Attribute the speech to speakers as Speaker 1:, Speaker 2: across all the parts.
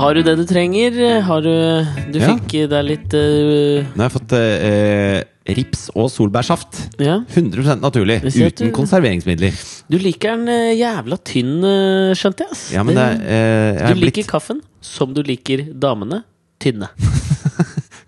Speaker 1: Har du det du trenger? Har du Du
Speaker 2: Ja.
Speaker 1: fikk eh, deg litt eh,
Speaker 2: Nå har jeg fått eh, rips og solbærsaft.
Speaker 1: Ja.
Speaker 2: 100 naturlig.
Speaker 1: Vi ser at
Speaker 2: Uten
Speaker 1: du-
Speaker 2: konserveringsmidler.
Speaker 1: Du liker den eh, jævla tynn, eh, skjønte jeg. ass.
Speaker 2: Ja, men det,
Speaker 1: Det-
Speaker 2: eh, jeg
Speaker 1: du
Speaker 2: er
Speaker 1: liker
Speaker 2: blitt
Speaker 1: kaffen som du liker damene tynne.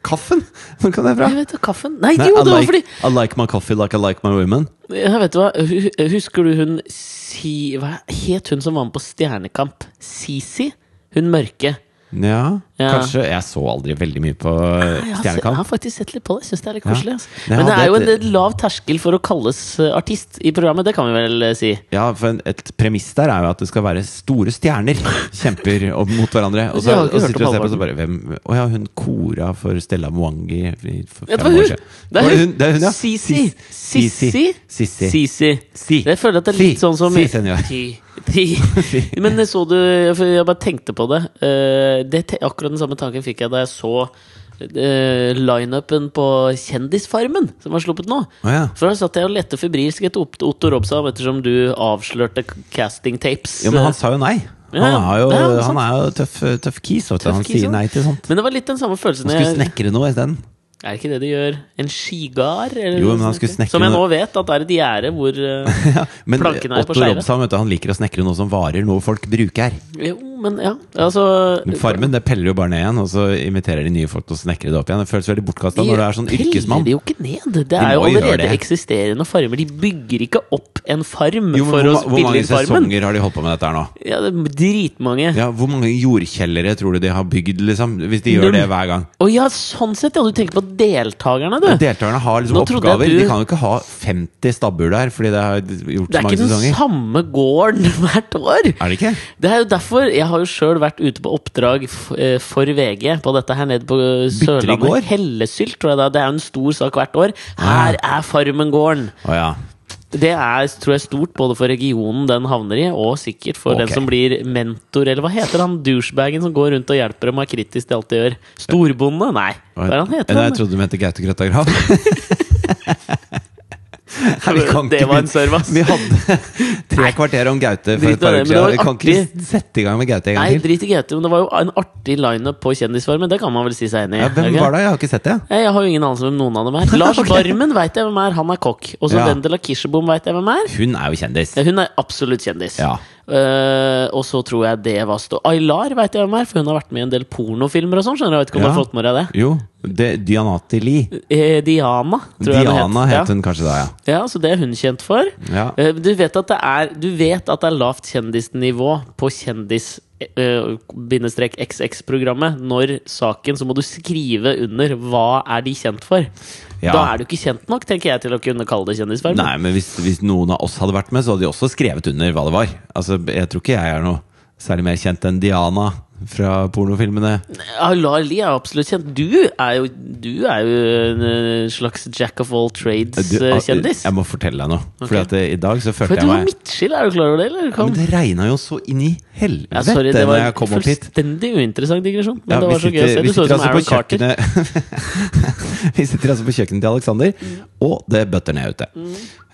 Speaker 2: Kaffen? Hvor kom det fra?
Speaker 1: Jeg vet det, kaffen Nei,
Speaker 2: Nei,
Speaker 1: jo,
Speaker 2: I,
Speaker 1: det var
Speaker 2: like,
Speaker 1: fordi
Speaker 2: I like my coffee like I like my women.
Speaker 1: Jeg vet du hva, hu- Husker du hun si, Hva het hun som var med på Stjernekamp? Sisi? Hun mørke.
Speaker 2: Ja,
Speaker 1: Ja.
Speaker 2: kanskje. Jeg så aldri veldig mye på eh,
Speaker 1: Jeg har, se- jeg
Speaker 2: Stjernekamp.
Speaker 1: har faktisk sett litt på det. Jeg Syns det er litt
Speaker 2: Ja.
Speaker 1: koselig. ass.
Speaker 2: Men jeg
Speaker 1: Men det
Speaker 2: hadde
Speaker 1: er jo en
Speaker 2: et-
Speaker 1: eh, lav terskel for å kalles eh, artist i programmet. Det kan vi vel eh, si.
Speaker 2: Ja, for en, Et premiss der er jo at det skal være store stjerner kjemper opp mot hverandre. Og
Speaker 1: Jeg
Speaker 2: så,
Speaker 1: har ikke
Speaker 2: og så
Speaker 1: hørt
Speaker 2: sitter du
Speaker 1: om
Speaker 2: og ser på og så bare
Speaker 1: halvparten.
Speaker 2: hvem, Å ja, hun kora for Stella Mwangi i- for
Speaker 1: Vet du
Speaker 2: fem
Speaker 1: hva, hun-
Speaker 2: år siden.
Speaker 1: det er
Speaker 2: Var
Speaker 1: hun.
Speaker 2: Det er hun, ja.
Speaker 1: Sisi.
Speaker 2: Sis-
Speaker 1: Sissi.
Speaker 2: Sissi.
Speaker 1: Sisi.
Speaker 2: Si.
Speaker 1: Jeg føler at det er litt
Speaker 2: Si.
Speaker 1: sånn som
Speaker 2: Si, senor.
Speaker 1: Ti. Ti. Men jeg så du for Jeg bare tenkte på det. Eh, det te akkurat den samme tanken fikk jeg da jeg så eh, lineupen på Kjendisfarmen, som var sluppet nå.
Speaker 2: Å ja.
Speaker 1: For da satt jeg og lette febrilsk etter Ot- Otto Robsam ettersom du avslørte k- casting tapes.
Speaker 2: Jo, men han sa jo nei.
Speaker 1: Ja,
Speaker 2: Han er jo,
Speaker 1: ja, det er sant.
Speaker 2: han er jo tøff, tøff kis. vet du.
Speaker 1: Tøff
Speaker 2: Han
Speaker 1: kis, ja.
Speaker 2: sier nei til sånt.
Speaker 1: Eh, Men det var litt den samme følelsen.
Speaker 2: Han skulle
Speaker 1: Jeg,
Speaker 2: snekre noe isteden.
Speaker 1: er det ikke det de gjør? En skigard? eller
Speaker 2: Jo,
Speaker 1: noe
Speaker 2: men han
Speaker 1: sånt?
Speaker 2: skulle snekre
Speaker 1: Som jeg nå
Speaker 2: noe-
Speaker 1: vet at er et gjerde hvor eh,
Speaker 2: Ja, men
Speaker 1: Planken er på
Speaker 2: Otto
Speaker 1: skeive.
Speaker 2: Robsam vet du, han liker å snekre noe som varer, noe folk bruker.
Speaker 1: Jo, men ja. Altså
Speaker 2: Farmen det peller jo bare ned igjen, og så inviterer de nye folk til å snekre det opp igjen. Det føles veldig bortkasta når du er sånn yrkesmann.
Speaker 1: De peller jo ikke ned. Det
Speaker 2: De
Speaker 1: er jo
Speaker 2: må gjøre
Speaker 1: allerede
Speaker 2: det.
Speaker 1: eksisterende farmer. De bygger ikke opp en farm
Speaker 2: Jo, men
Speaker 1: for å
Speaker 2: hvor, ma- hvor
Speaker 1: spille
Speaker 2: mange
Speaker 1: inn farmen.
Speaker 2: sesonger har de holdt på med dette her nå?
Speaker 1: Ja, det er dritmange. Å ja.
Speaker 2: Ja, Hvor mange jordkjellere tror du de har bygd, liksom? Hvis de gjør
Speaker 1: Null.
Speaker 2: det hver gang.
Speaker 1: sånn sett, ja. Du tenker på deltakerne, du. Det,
Speaker 2: Deltakerne har liksom
Speaker 1: Nå trodde jeg
Speaker 2: oppgaver.
Speaker 1: du-
Speaker 2: De kan jo ikke ha 50 stabbur der, fordi det har gjort så
Speaker 1: er
Speaker 2: mange
Speaker 1: ikke den
Speaker 2: sesonger.
Speaker 1: samme gården hvert år.
Speaker 2: Er det ikke?
Speaker 1: Det er jo derfor Jeg har jo sjøl vært ute på oppdrag f- eh, for VG på dette her nede på eh,
Speaker 2: Bytter de gård? Ah.
Speaker 1: Sørlandet. Hellesylt, tror jeg det er. Det er jo en stor sak hvert år. Her er Farmen gården!
Speaker 2: Å ja.
Speaker 1: Det er tror jeg, stort både for regionen den havner i, og sikkert for den
Speaker 2: Ok.
Speaker 1: som blir mentor, eller hva heter han douchebagen som går rundt og hjelper dem og er kritisk til alt de gjør? Storbonde? Nei, hva er det han heter?
Speaker 2: Nei, jeg
Speaker 1: han?
Speaker 2: trodde du mente Gaute Grøtta Grav. Nei, vi kan
Speaker 1: Det
Speaker 2: ikke
Speaker 1: var en
Speaker 2: begynne-
Speaker 1: serve, ass.
Speaker 2: Vi hadde tre kvarter om Gaute for
Speaker 1: Drit
Speaker 2: et par
Speaker 1: i det, men
Speaker 2: uker
Speaker 1: det var
Speaker 2: siden. Vi kan
Speaker 1: artig.
Speaker 2: ikke sette i gang med Gaute en
Speaker 1: Nei,
Speaker 2: gang til.
Speaker 1: drit i GT, men det var jo en artig lineup på Kjendisfarmen, det kan man vel si seg enig i?
Speaker 2: Ja, hvem
Speaker 1: ikke?
Speaker 2: var det? Jeg har ikke sett det.
Speaker 1: Nei, Jeg har jo ingen anelse om hvem noen av dem er. Lars Barmen veit jeg hvem er, han er kokk. Og så
Speaker 2: Ja.
Speaker 1: Vendela Kirsebom veit jeg hvem er.
Speaker 2: Hun er jo kjendis.
Speaker 1: Ja, Hun er absolutt kjendis.
Speaker 2: Ja.
Speaker 1: Eh, og så tror jeg det var stå... Aylar veit jeg hvem er, for hun har vært med i en del pornofilmer og sånn. Skjønner du? Jeg vet ikke om du
Speaker 2: Ja.
Speaker 1: har fått med deg det?
Speaker 2: Jo, det, Dianati Lie.
Speaker 1: Eh, Diana, tror jeg det
Speaker 2: Diana
Speaker 1: het.
Speaker 2: het hun kanskje da, ja.
Speaker 1: Ja. ja, så det er hun kjent for.
Speaker 2: Ja.
Speaker 1: Eh, Du vet at det er, du vet at det er lavt kjendisnivå på kjendis eh, Bindestrekk XX-programmet. Når saken, så må du skrive under hva er de kjent for.
Speaker 2: Ja.
Speaker 1: Da er du ikke kjent nok, tenker jeg, til å kunne kalle det kjendisfarmen.
Speaker 2: Nei, men hvis, hvis noen av oss hadde vært med, så hadde de også skrevet under hva det var. Altså, Jeg tror ikke jeg er noe særlig mer kjent enn Diana fra pornofilmene.
Speaker 1: Aylar Lie eh, er absolutt kjent. Du er jo, du er jo en eh, slags jack of all
Speaker 2: Du, ah,
Speaker 1: trades-kjendis.
Speaker 2: Jeg må fortelle deg noe. Fordi
Speaker 1: Eh, Ok.
Speaker 2: at eh, i dag så følte
Speaker 1: For du
Speaker 2: jeg
Speaker 1: var
Speaker 2: meg
Speaker 1: midtskill, er du klar over det? Eller?
Speaker 2: Ja,
Speaker 1: Kom.
Speaker 2: Men det regna jo så inn i helvete
Speaker 1: Ja, sorry, det
Speaker 2: når
Speaker 1: var
Speaker 2: jeg kom opp hit.
Speaker 1: fullstendig uinteressant digresjon. Men
Speaker 2: Ja,
Speaker 1: det
Speaker 2: vi
Speaker 1: var så gøy å
Speaker 2: sitter-
Speaker 1: se.
Speaker 2: vi
Speaker 1: Du så ut som
Speaker 2: sitter altså på
Speaker 1: Aaron Carter.
Speaker 2: kjøkkenet- vi sitter altså på kjøkkenet til Alexander,
Speaker 1: Mm.
Speaker 2: og det bøtter ned ute.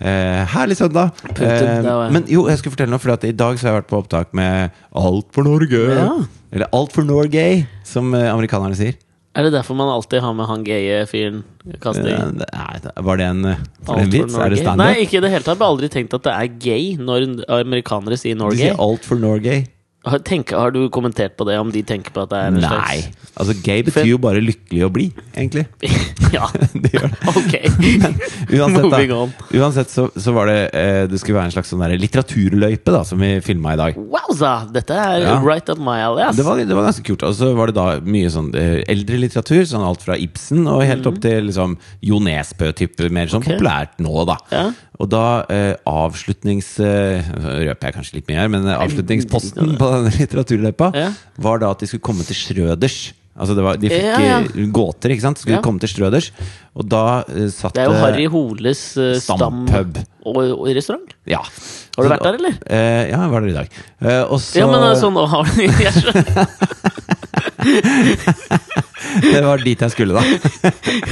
Speaker 2: Eh, herlig søndag! Eh,
Speaker 1: det var-
Speaker 2: men jo, jeg skulle fortelle noe, for at i dag så har jeg vært på opptak med Alt for Norge!
Speaker 1: Ja.
Speaker 2: Eller Alt for Norge, som eh, amerikanerne sier.
Speaker 1: Er det derfor man alltid har med han gaye fyren? Kaster
Speaker 2: Eh,
Speaker 1: inn
Speaker 2: nei, var det en, eh, var det
Speaker 1: alt for
Speaker 2: en vits? Er det
Speaker 1: Norge?
Speaker 2: standup?
Speaker 1: Nei, ikke i det hele tatt. Jeg har aldri tenkt at det er gay når amerikanere sier
Speaker 2: Du
Speaker 1: Norge.
Speaker 2: sier Alt for Norge.
Speaker 1: Har, tenk, har du kommentert på det, om de tenker på at det er en
Speaker 2: Nei! Altså, gay
Speaker 1: For-
Speaker 2: betyr jo bare lykkelig å bli, egentlig.
Speaker 1: slags Ja,
Speaker 2: Det gjør det.
Speaker 1: ok.
Speaker 2: Uansett,
Speaker 1: Moving
Speaker 2: da,
Speaker 1: on.
Speaker 2: uansett så, så var det eh, Det skulle være en slags sånn der litteraturløype da som vi filma i dag.
Speaker 1: Wowza! Dette er
Speaker 2: Ja.
Speaker 1: right up my alley, ass.
Speaker 2: Det var, det var ganske kult. Og så var det da mye sånn eh, eldre litteratur. Sånn alt fra Ibsen og helt opp til liksom Jo Nesbø-type. Mer sånn
Speaker 1: Mhm. Ok.
Speaker 2: populært nå, da.
Speaker 1: Ja.
Speaker 2: Og da eh, avslutnings... Eh, røper jeg kanskje litt mye her, men eh, avslutningsposten på denne litteraturløypa
Speaker 1: Ja.
Speaker 2: var da at de skulle komme til Schrøders. Altså det var, De fikk
Speaker 1: Ja, ja.
Speaker 2: eh, gåter, ikke sant? Skulle
Speaker 1: Ja.
Speaker 2: komme til Schrøders. Og da eh, satt
Speaker 1: det er jo
Speaker 2: eh,
Speaker 1: Harry Holes eh, stam
Speaker 2: Stampub.
Speaker 1: og, og restaurant.
Speaker 2: Ja.
Speaker 1: Har du
Speaker 2: Så-
Speaker 1: vært der, altså- eller?
Speaker 2: Eh, ja, jeg var der i dag. Eh, og så
Speaker 1: Ja, men eh, sånn og har Jeg skjønner.
Speaker 2: Det var dit jeg skulle, da.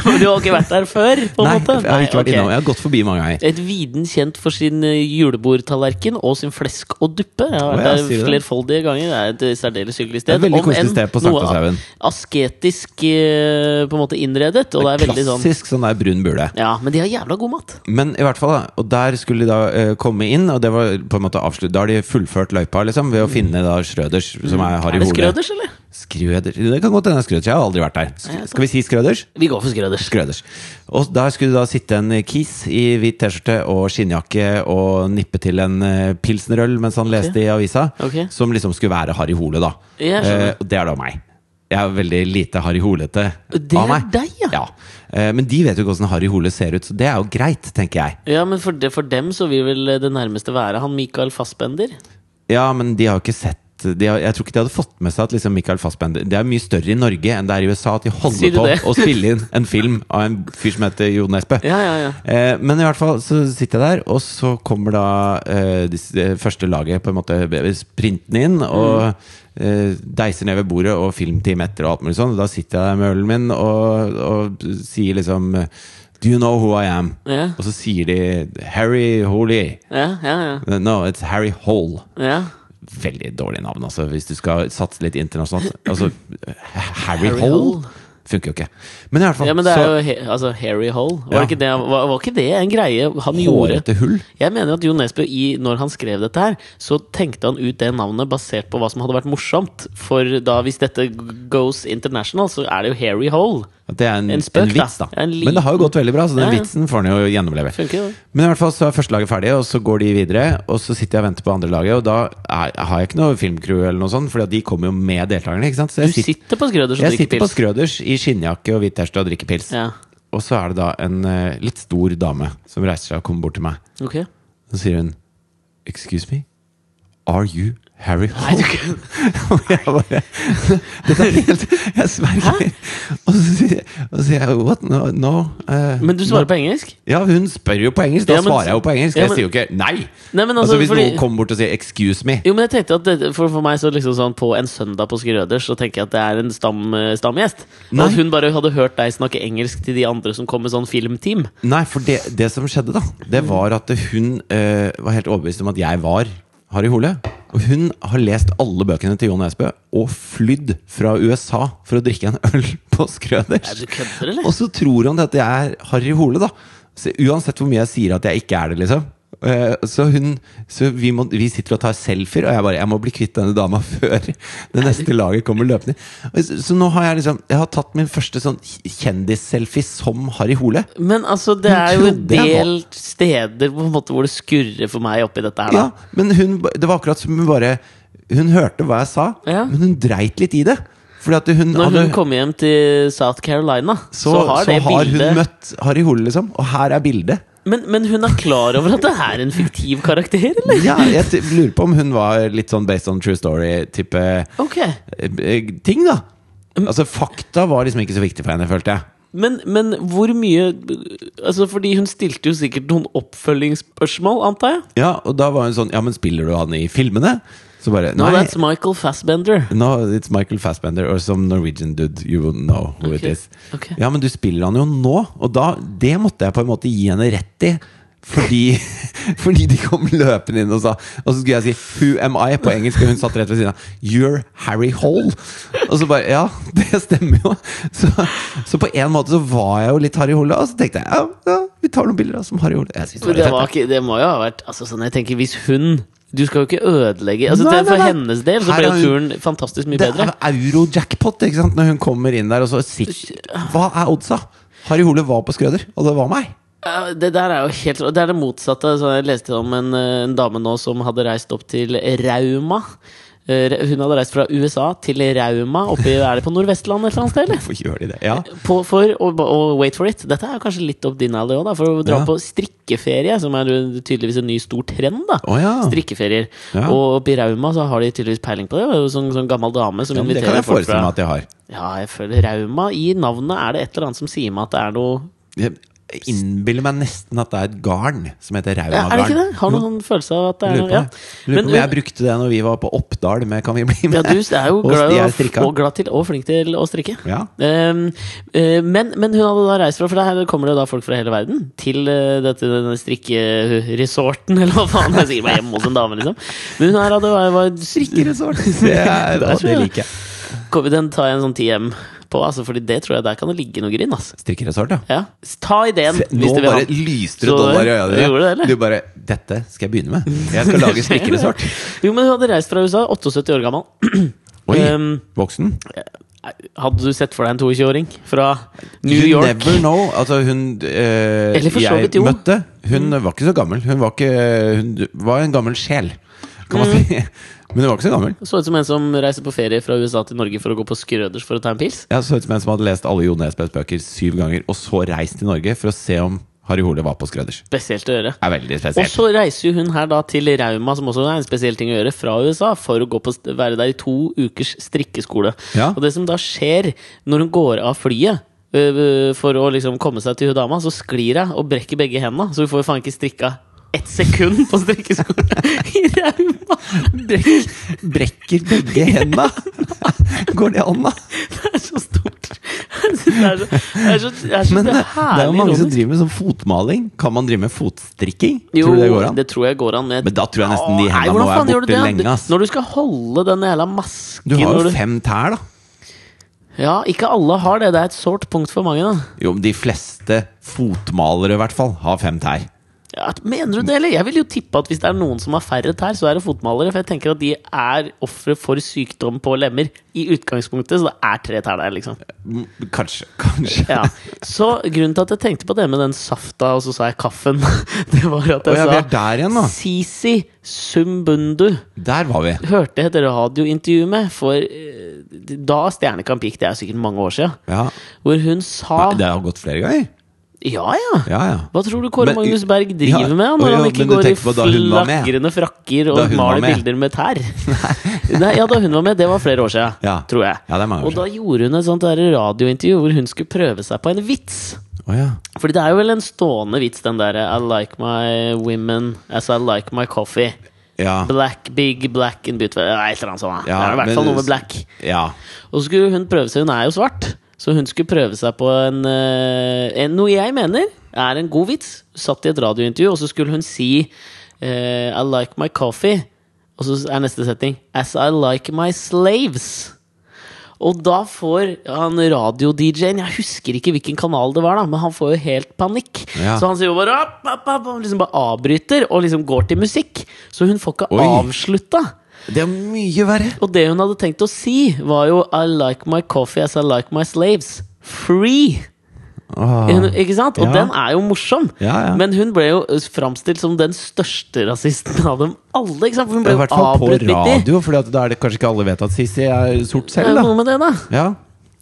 Speaker 1: Men du har ikke vært der før? på en
Speaker 2: Nei,
Speaker 1: måte?
Speaker 2: jeg har ikke
Speaker 1: ok.
Speaker 2: vært innom. Jeg har gått forbi mange ganger.
Speaker 1: Et viden kjent for sin eh, julebordtallerken og sin flesk og duppe. Jeg har
Speaker 2: Å, ja,
Speaker 1: vært der
Speaker 2: sier du det?
Speaker 1: flerfoldige ganger. Det er et eh, særdeles hyggelig
Speaker 2: Det er
Speaker 1: sted.
Speaker 2: et veldig
Speaker 1: om
Speaker 2: koselig
Speaker 1: enn
Speaker 2: sted på
Speaker 1: noe
Speaker 2: Sankthanshaugen.
Speaker 1: Asketisk eh, på en måte innredet. Og det er veldig sånn
Speaker 2: Klassisk sånn der brun bule.
Speaker 1: Ja, men de har jævla god mat.
Speaker 2: Men i hvert fall, da. Og der skulle de da eh, komme inn, og det var på en måte avslutt. Da har de fullført løypa, liksom, ved å finne da Schrøders, som jeg har
Speaker 1: Mm. Er
Speaker 2: i
Speaker 1: det
Speaker 2: hodet.
Speaker 1: Skrøders, eller?
Speaker 2: Skrøder? Det kan godt hende det er Skrøders. Jeg har aldri vært der.
Speaker 1: Nei, jeg
Speaker 2: Sk skal vi si Skrøders?
Speaker 1: Vi går for Skrøders.
Speaker 2: Skrøders. Og der skulle det da sitte en kis i hvit T-skjorte og skinnjakke og nippe til en eh, pilsnerøl mens han leste i avisa,
Speaker 1: Ok.
Speaker 2: som liksom skulle være Harry Hole, da.
Speaker 1: Jeg skjønner.
Speaker 2: Eh, og det er da meg. Jeg er veldig lite Harry Holete
Speaker 1: Det er
Speaker 2: av meg.
Speaker 1: deg, ja.
Speaker 2: Eh, Men de vet jo ikke åssen Harry Hole ser ut, så det er jo greit, tenker jeg.
Speaker 1: Ja, men for, de, for dem så vil vel eh, det nærmeste være han Michael Fassbender.
Speaker 2: Ja, men de har jo ikke sett de har, Jeg tror ikke de hadde fått med seg at liksom Michael Fassbender Det er mye større i Norge enn det er i USA at de
Speaker 1: Sier
Speaker 2: holder
Speaker 1: du
Speaker 2: på
Speaker 1: det?
Speaker 2: å spille inn en film av en fyr som heter Jo Nesbø.
Speaker 1: Ja, ja, ja.
Speaker 2: Eh, men i hvert fall så sitter jeg der, og så kommer da eh, disse- det første laget, på en måte sprinten inn,
Speaker 1: Mm.
Speaker 2: og eh, deiser ned ved bordet og filmteam etter og alt mulig sånn. Da sitter jeg der med ølen min og, og sier liksom Do you know who I am?
Speaker 1: Ja,
Speaker 2: Og så sier de Harry Holy.
Speaker 1: ja, ja. ja.
Speaker 2: No, it's Harry Hole.
Speaker 1: ja.
Speaker 2: Veldig dårlig navn, altså, hvis du skal satse litt internasjonalt. Altså, Harry,
Speaker 1: Harry Hole?
Speaker 2: Hole funker jo ikke. Men i hvert fall
Speaker 1: Ja, men det er
Speaker 2: så
Speaker 1: jo he, altså, Harry Hole. Var,
Speaker 2: Ja.
Speaker 1: ikke det, var, var ikke det en greie han gjorde?
Speaker 2: hårete hull.
Speaker 1: Jeg mener at Jo Nesbø, i, når han skrev dette her, så tenkte han ut det navnet basert på hva som hadde vært morsomt. For da, hvis dette g- goes international, så er det jo Harry Hole.
Speaker 2: At det er en,
Speaker 1: En
Speaker 2: en,
Speaker 1: spøk, da.
Speaker 2: vits, da.
Speaker 1: En liten-
Speaker 2: men det har jo gått veldig bra, så den
Speaker 1: Ja, ja.
Speaker 2: vitsen får han jo gjennomleve.
Speaker 1: Funker jo det.
Speaker 2: Men i hvert fall så er første laget ferdig, og så går de videre. Og så sitter jeg og venter på andre laget, og da er, har jeg ikke noe filmcrew, eller noe sånt, Fordi at de kommer jo med deltakerne. ikke sant? Så
Speaker 1: Du
Speaker 2: jeg, sitter,
Speaker 1: sitter på Skrøders og
Speaker 2: jeg
Speaker 1: drikker
Speaker 2: sitter på
Speaker 1: pils.
Speaker 2: Skrøders i skinnjakke og hvit T-skjorte og drikker pils.
Speaker 1: Ja,
Speaker 2: Og så er det da en eh, litt stor dame som reiser seg og kommer bort til meg.
Speaker 1: ok
Speaker 2: Så sier hun Excuse me, are you Harry
Speaker 1: Nei, du
Speaker 2: Hole?
Speaker 1: kan-
Speaker 2: Og jeg bare Dette er helt Jeg sverger. Og så sier og så sier jeg What? No? no eh,
Speaker 1: Men du
Speaker 2: no."
Speaker 1: svarer på engelsk?
Speaker 2: Ja, hun spør jo på engelsk. Da
Speaker 1: Ja, men-
Speaker 2: svarer jeg jo på engelsk.
Speaker 1: Ja,
Speaker 2: jeg
Speaker 1: men-
Speaker 2: sier jo ikke nei.
Speaker 1: Nei, men
Speaker 2: altså,
Speaker 1: altså,
Speaker 2: Hvis
Speaker 1: fordi-
Speaker 2: noen kommer bort og sier 'excuse me'
Speaker 1: Jo, men jeg tenkte at det, for, for meg så liksom sånn på en søndag på Skrøders Så tenker jeg at det er en stam, eh, stamgjest. Og
Speaker 2: Nei.
Speaker 1: at hun bare hadde hørt deg snakke engelsk til de andre som kom med sånn filmteam.
Speaker 2: Nei, for det, det som skjedde, da, det
Speaker 1: Mm.
Speaker 2: var at hun eh, var helt overbevist om at jeg var Harry Hole. Og hun har lest alle bøkene til Jon Esbø og flydd fra USA for å drikke en øl på
Speaker 1: Er
Speaker 2: Skrøders.
Speaker 1: du kødder, eller?
Speaker 2: Og så tror han at jeg er Harry Hole, da. Så uansett hvor mye jeg sier at jeg ikke er det, liksom. Eh, Så, hun, så vi, må, vi sitter og tar selfier, og jeg bare Jeg må bli kvitt denne dama før det neste laget kommer løpende. Og Så så nå har jeg liksom Jeg har tatt min første sånn kjendisselfie som Harry Hole.
Speaker 1: Men altså, det
Speaker 2: Hun
Speaker 1: er jo en
Speaker 2: trodde jeg var-
Speaker 1: del steder på en måte hvor det skurrer for meg oppi dette her. da.
Speaker 2: Ja, men hun, det var akkurat som hun bare Hun hørte hva jeg sa,
Speaker 1: Ja.
Speaker 2: men hun dreit litt i det. Fordi at hun
Speaker 1: Når
Speaker 2: hadde,
Speaker 1: hun kommer hjem til South Carolina,
Speaker 2: så,
Speaker 1: så, har det
Speaker 2: hun
Speaker 1: bildet
Speaker 2: møtt Harry Hole, liksom. Og her er bildet.
Speaker 1: men, men hun er klar over at det er en fiktiv karakter, eller?
Speaker 2: Ja, jeg t lurer på om hun var litt sånn based on true story-type
Speaker 1: Ok,
Speaker 2: ting, da.
Speaker 1: Um,
Speaker 2: Altså Fakta var liksom ikke så viktig for henne, følte jeg.
Speaker 1: men, men hvor mye Altså, fordi hun stilte jo sikkert noen oppfølgingsspørsmål, antar jeg?
Speaker 2: Ja, Og da var hun sånn Ja, men spiller du han i filmene? Så bare
Speaker 1: No,
Speaker 2: Nei.
Speaker 1: that's Michael Fassbender.
Speaker 2: No, it's Michael Fassbender or some Norwegian dude. You will know who it
Speaker 1: Ok,
Speaker 2: is.
Speaker 1: ok.
Speaker 2: Ja, men du spiller han jo nå, og da, det måtte jeg på en måte gi henne rett i. Fordi, fordi de kom løpende inn og sa Og så skulle jeg si 'Who am I?' på engelsk, og hun satt rett ved siden av. 'You're Harry Hole'. Og så bare Ja, det stemmer jo. Så, så på en måte så var jeg jo litt Harry Hole, og så tenkte jeg ja, ja vi tar noen bilder da, som Harry Hole. Jeg synes det
Speaker 1: Men
Speaker 2: var
Speaker 1: det,
Speaker 2: litt
Speaker 1: var
Speaker 2: fett.
Speaker 1: ikke, det må jo ha vært altså, sånn, Jeg tenker, hvis hun Du skal jo ikke ødelegge altså,
Speaker 2: Nei,
Speaker 1: det- For
Speaker 2: nei, nei.
Speaker 1: hennes del så
Speaker 2: Her
Speaker 1: ble
Speaker 2: har
Speaker 1: jo turen fantastisk mye
Speaker 2: Det
Speaker 1: bedre.
Speaker 2: er euro-jackpot ikke sant? når hun kommer inn der. Og så sitter, hva er oddsa? Harry Hole var på Skrøder, og det var meg.
Speaker 1: Ja, Det der er jo helt Det er det motsatte. Så jeg leste om en, eh, en dame nå som hadde reist opp til Rauma. Eh, re- Hun hadde reist fra USA til Rauma, oppe i, er det på Nordvestland et eller annet sted? eller?
Speaker 2: Hvorfor gjør de det? Ja.
Speaker 1: På, for, og, og wait for it, dette er jo kanskje litt opp din alley òg, da. For å dra
Speaker 2: Ja.
Speaker 1: på strikkeferie, som er jo tydeligvis en ny stor trend, da.
Speaker 2: Å ja.
Speaker 1: Strikkeferier.
Speaker 2: Ja.
Speaker 1: Og oppe i Rauma så har de tydeligvis peiling på det. Det er jo sånn, sånn gammel dame som
Speaker 2: Ja, men det kan
Speaker 1: inviterer
Speaker 2: jeg
Speaker 1: folk
Speaker 2: forestille
Speaker 1: fra
Speaker 2: meg at jeg har.
Speaker 1: Ja, jeg føler Rauma. I navnet er det et eller annet som sier meg at det er noe
Speaker 2: Jeg- innbiller meg nesten at det er et garn som heter
Speaker 1: Ja, er det ikke det?
Speaker 2: Raumagarn.
Speaker 1: Har noen følelse av at det er
Speaker 2: Lurer på
Speaker 1: noe ja.
Speaker 2: det. Lurer på om jeg
Speaker 1: Men, eh,
Speaker 2: brukte det når vi var på Oppdal med Kan vi bli
Speaker 1: ja,
Speaker 2: med?
Speaker 1: du er jo
Speaker 2: Og
Speaker 1: glad,
Speaker 2: de er
Speaker 1: i å-
Speaker 2: strikka.
Speaker 1: og glad til og flink til å strikke.
Speaker 2: Ja.
Speaker 1: Ehm, eh, men, men hun hadde da reist fra For der kommer det da folk fra hele verden til eh, dette, denne strikkeresorten, eller hva faen. Det er sikkert bare hjemme hos en dame, liksom. Men hun her hadde var, var strikker.
Speaker 2: Strikkeresort. Det, er-
Speaker 1: Der
Speaker 2: å,
Speaker 1: tror
Speaker 2: det
Speaker 1: jeg.
Speaker 2: liker jeg.
Speaker 1: Kom, Den tar jeg en sånn 10M på, altså, Fordi det tror jeg der kan det ligge noe grinn. Altså.
Speaker 2: Strikkeresort, ja.
Speaker 1: Ja. Ta ideen,
Speaker 2: Se,
Speaker 1: hvis
Speaker 2: Nå
Speaker 1: du vil ha
Speaker 2: bare
Speaker 1: den.
Speaker 2: lyste det
Speaker 1: Så-
Speaker 2: dollar i
Speaker 1: Gjorde det,
Speaker 2: øynene.
Speaker 1: eller?
Speaker 2: Du bare 'Dette skal jeg begynne med. Jeg skal lage strikkeresort'.
Speaker 1: Jo, men hun hadde reist fra USA, 78 år gammel.
Speaker 2: Oi,
Speaker 1: Ehm,
Speaker 2: voksen.
Speaker 1: Hadde du sett for deg en 22-åring fra New
Speaker 2: you
Speaker 1: York?
Speaker 2: never know. Altså, hun eh,
Speaker 1: Eller for så vidt,
Speaker 2: jeg
Speaker 1: jo.
Speaker 2: møtte Hun var ikke så gammel. Hun var, ikke, hun var en gammel sjel, kan man
Speaker 1: Mm.
Speaker 2: si. Men hun var ikke så gammel.
Speaker 1: Så ut som en som reiser på ferie fra USA til Norge for å gå på Skrøders for å ta en pils.
Speaker 2: Jeg så ut som en som hadde lest alle Jo Nesbøs bøker syv ganger, og så reist til Norge for å se om Harry Hole var på Skrøders.
Speaker 1: Spesielt å gjøre.
Speaker 2: Det er veldig
Speaker 1: Og
Speaker 2: spesielt.
Speaker 1: så reiser jo hun her da til Rauma, som også er en spesiell ting å gjøre, fra USA, for å gå på, st- være der i to ukers strikkeskole.
Speaker 2: Ja.
Speaker 1: Og det som da skjer når hun går av flyet øh, øh, for å liksom komme seg til hun dama, så sklir hun og brekker begge hendene. Så hun får jo faen ikke strikka ett sekund på strikkeskolen i Rauma!
Speaker 2: Brekk, brekker begge henda! Går det an, da?
Speaker 1: Det er så stort! Jeg synes Det er så, det er så, det er så
Speaker 2: Men eh, det er jo
Speaker 1: herlig
Speaker 2: mange som
Speaker 1: ironisk.
Speaker 2: driver med sånn fotmaling. Kan man drive med fotstrikking?
Speaker 1: Jo,
Speaker 2: tror du det går an?
Speaker 1: det tror jeg går an. Men, jeg-
Speaker 2: Men da tror jeg nesten de
Speaker 1: Åh, nei,
Speaker 2: hendene
Speaker 1: hvordan
Speaker 2: må
Speaker 1: faen
Speaker 2: være
Speaker 1: gjør du
Speaker 2: borte
Speaker 1: det?
Speaker 2: lenge. ass.
Speaker 1: Når du skal holde den jævla masken
Speaker 2: Du har
Speaker 1: når
Speaker 2: jo fem tær, da.
Speaker 1: Ja, ikke alle har det. Det er et sårt punkt for mange. da
Speaker 2: Jo, men de fleste fotmalere i hvert fall har fem tær.
Speaker 1: ja, Mener du det, eller? Jeg vil jo tippe at hvis det er noen som har færre tær, så er det fotmalere. For jeg tenker at de er ofre for sykdom på lemmer i utgangspunktet. Så det er tre tær der, liksom.
Speaker 2: M- Mm, Kanskje, kanskje.
Speaker 1: Ja. Så grunnen til at jeg tenkte på det med den safta, og så sa jeg kaffen, det var at
Speaker 2: Å ja, vi
Speaker 1: jeg
Speaker 2: er der igjen,
Speaker 1: sa
Speaker 2: da.
Speaker 1: Sisi Sumbundu
Speaker 2: Der var vi.
Speaker 1: hørte jeg et radiointervju med for eh, da Stjernekamp gikk, det er sikkert mange år siden,
Speaker 2: Ja.
Speaker 1: hvor hun sa
Speaker 2: Nei, det har gått flere ganger.
Speaker 1: Ja, ja.
Speaker 2: Ja, ja.
Speaker 1: Hva tror du Kåre
Speaker 2: Men-
Speaker 1: Magnus Berg driver
Speaker 2: Ja,
Speaker 1: med når
Speaker 2: og ja,
Speaker 1: han ikke
Speaker 2: men du
Speaker 1: går i
Speaker 2: tenker på da hun var med?
Speaker 1: flagrende frakker og
Speaker 2: Da hun var
Speaker 1: maler
Speaker 2: med.
Speaker 1: bilder med tær? Nei, ja, da hun var med, det var flere år siden,
Speaker 2: Ja.
Speaker 1: tror jeg.
Speaker 2: Ja, det er mange år
Speaker 1: og da gjorde hun et sånt der radiointervju hvor hun skulle prøve seg på en vits.
Speaker 2: Å ja.
Speaker 1: Fordi det er jo vel en stående vits, den derre I like my women as I like my coffee.
Speaker 2: Ja.
Speaker 1: Black, big, black and beautiful Nei, et eller annet sånt. da.
Speaker 2: Ja,
Speaker 1: det er i
Speaker 2: men-
Speaker 1: hvert fall noe med black.
Speaker 2: ja.
Speaker 1: Og så skulle hun prøve seg, hun er jo svart Så hun skulle prøve seg på en, eh, en Noe jeg mener er en god vits Satt i et radiointervju Og så skulle hun si eh, I like my coffee Og så er neste setning As I like my slaves og da får han radio-DJ-en Jeg husker ikke hvilken kanal det var da Men han får jo helt panikk
Speaker 2: Ja.
Speaker 1: Så han sier jo bare opp, opp, opp, Og liksom bare avbryter Og liksom går til musikk Så hun får ikke
Speaker 2: Oi.
Speaker 1: avslutta
Speaker 2: Det er mye verre.
Speaker 1: og det hun hadde tenkt å si, var jo I like my coffee as I like my slaves. Free!
Speaker 2: Åh.
Speaker 1: Hun- Ikke sant? Og
Speaker 2: Ah. Ja.
Speaker 1: den er jo morsom.
Speaker 2: Ja, ja.
Speaker 1: Men hun ble jo framstilt som den største rasisten av dem alle. Ikke sant? For hun
Speaker 2: I
Speaker 1: ble jo
Speaker 2: hvert fall på
Speaker 1: avbrutt midt i.
Speaker 2: radio, for da er det kanskje ikke alle vet at Sissy er sort
Speaker 1: Det er
Speaker 2: selv,
Speaker 1: jo
Speaker 2: da.
Speaker 1: noe med det, da.
Speaker 2: Ja.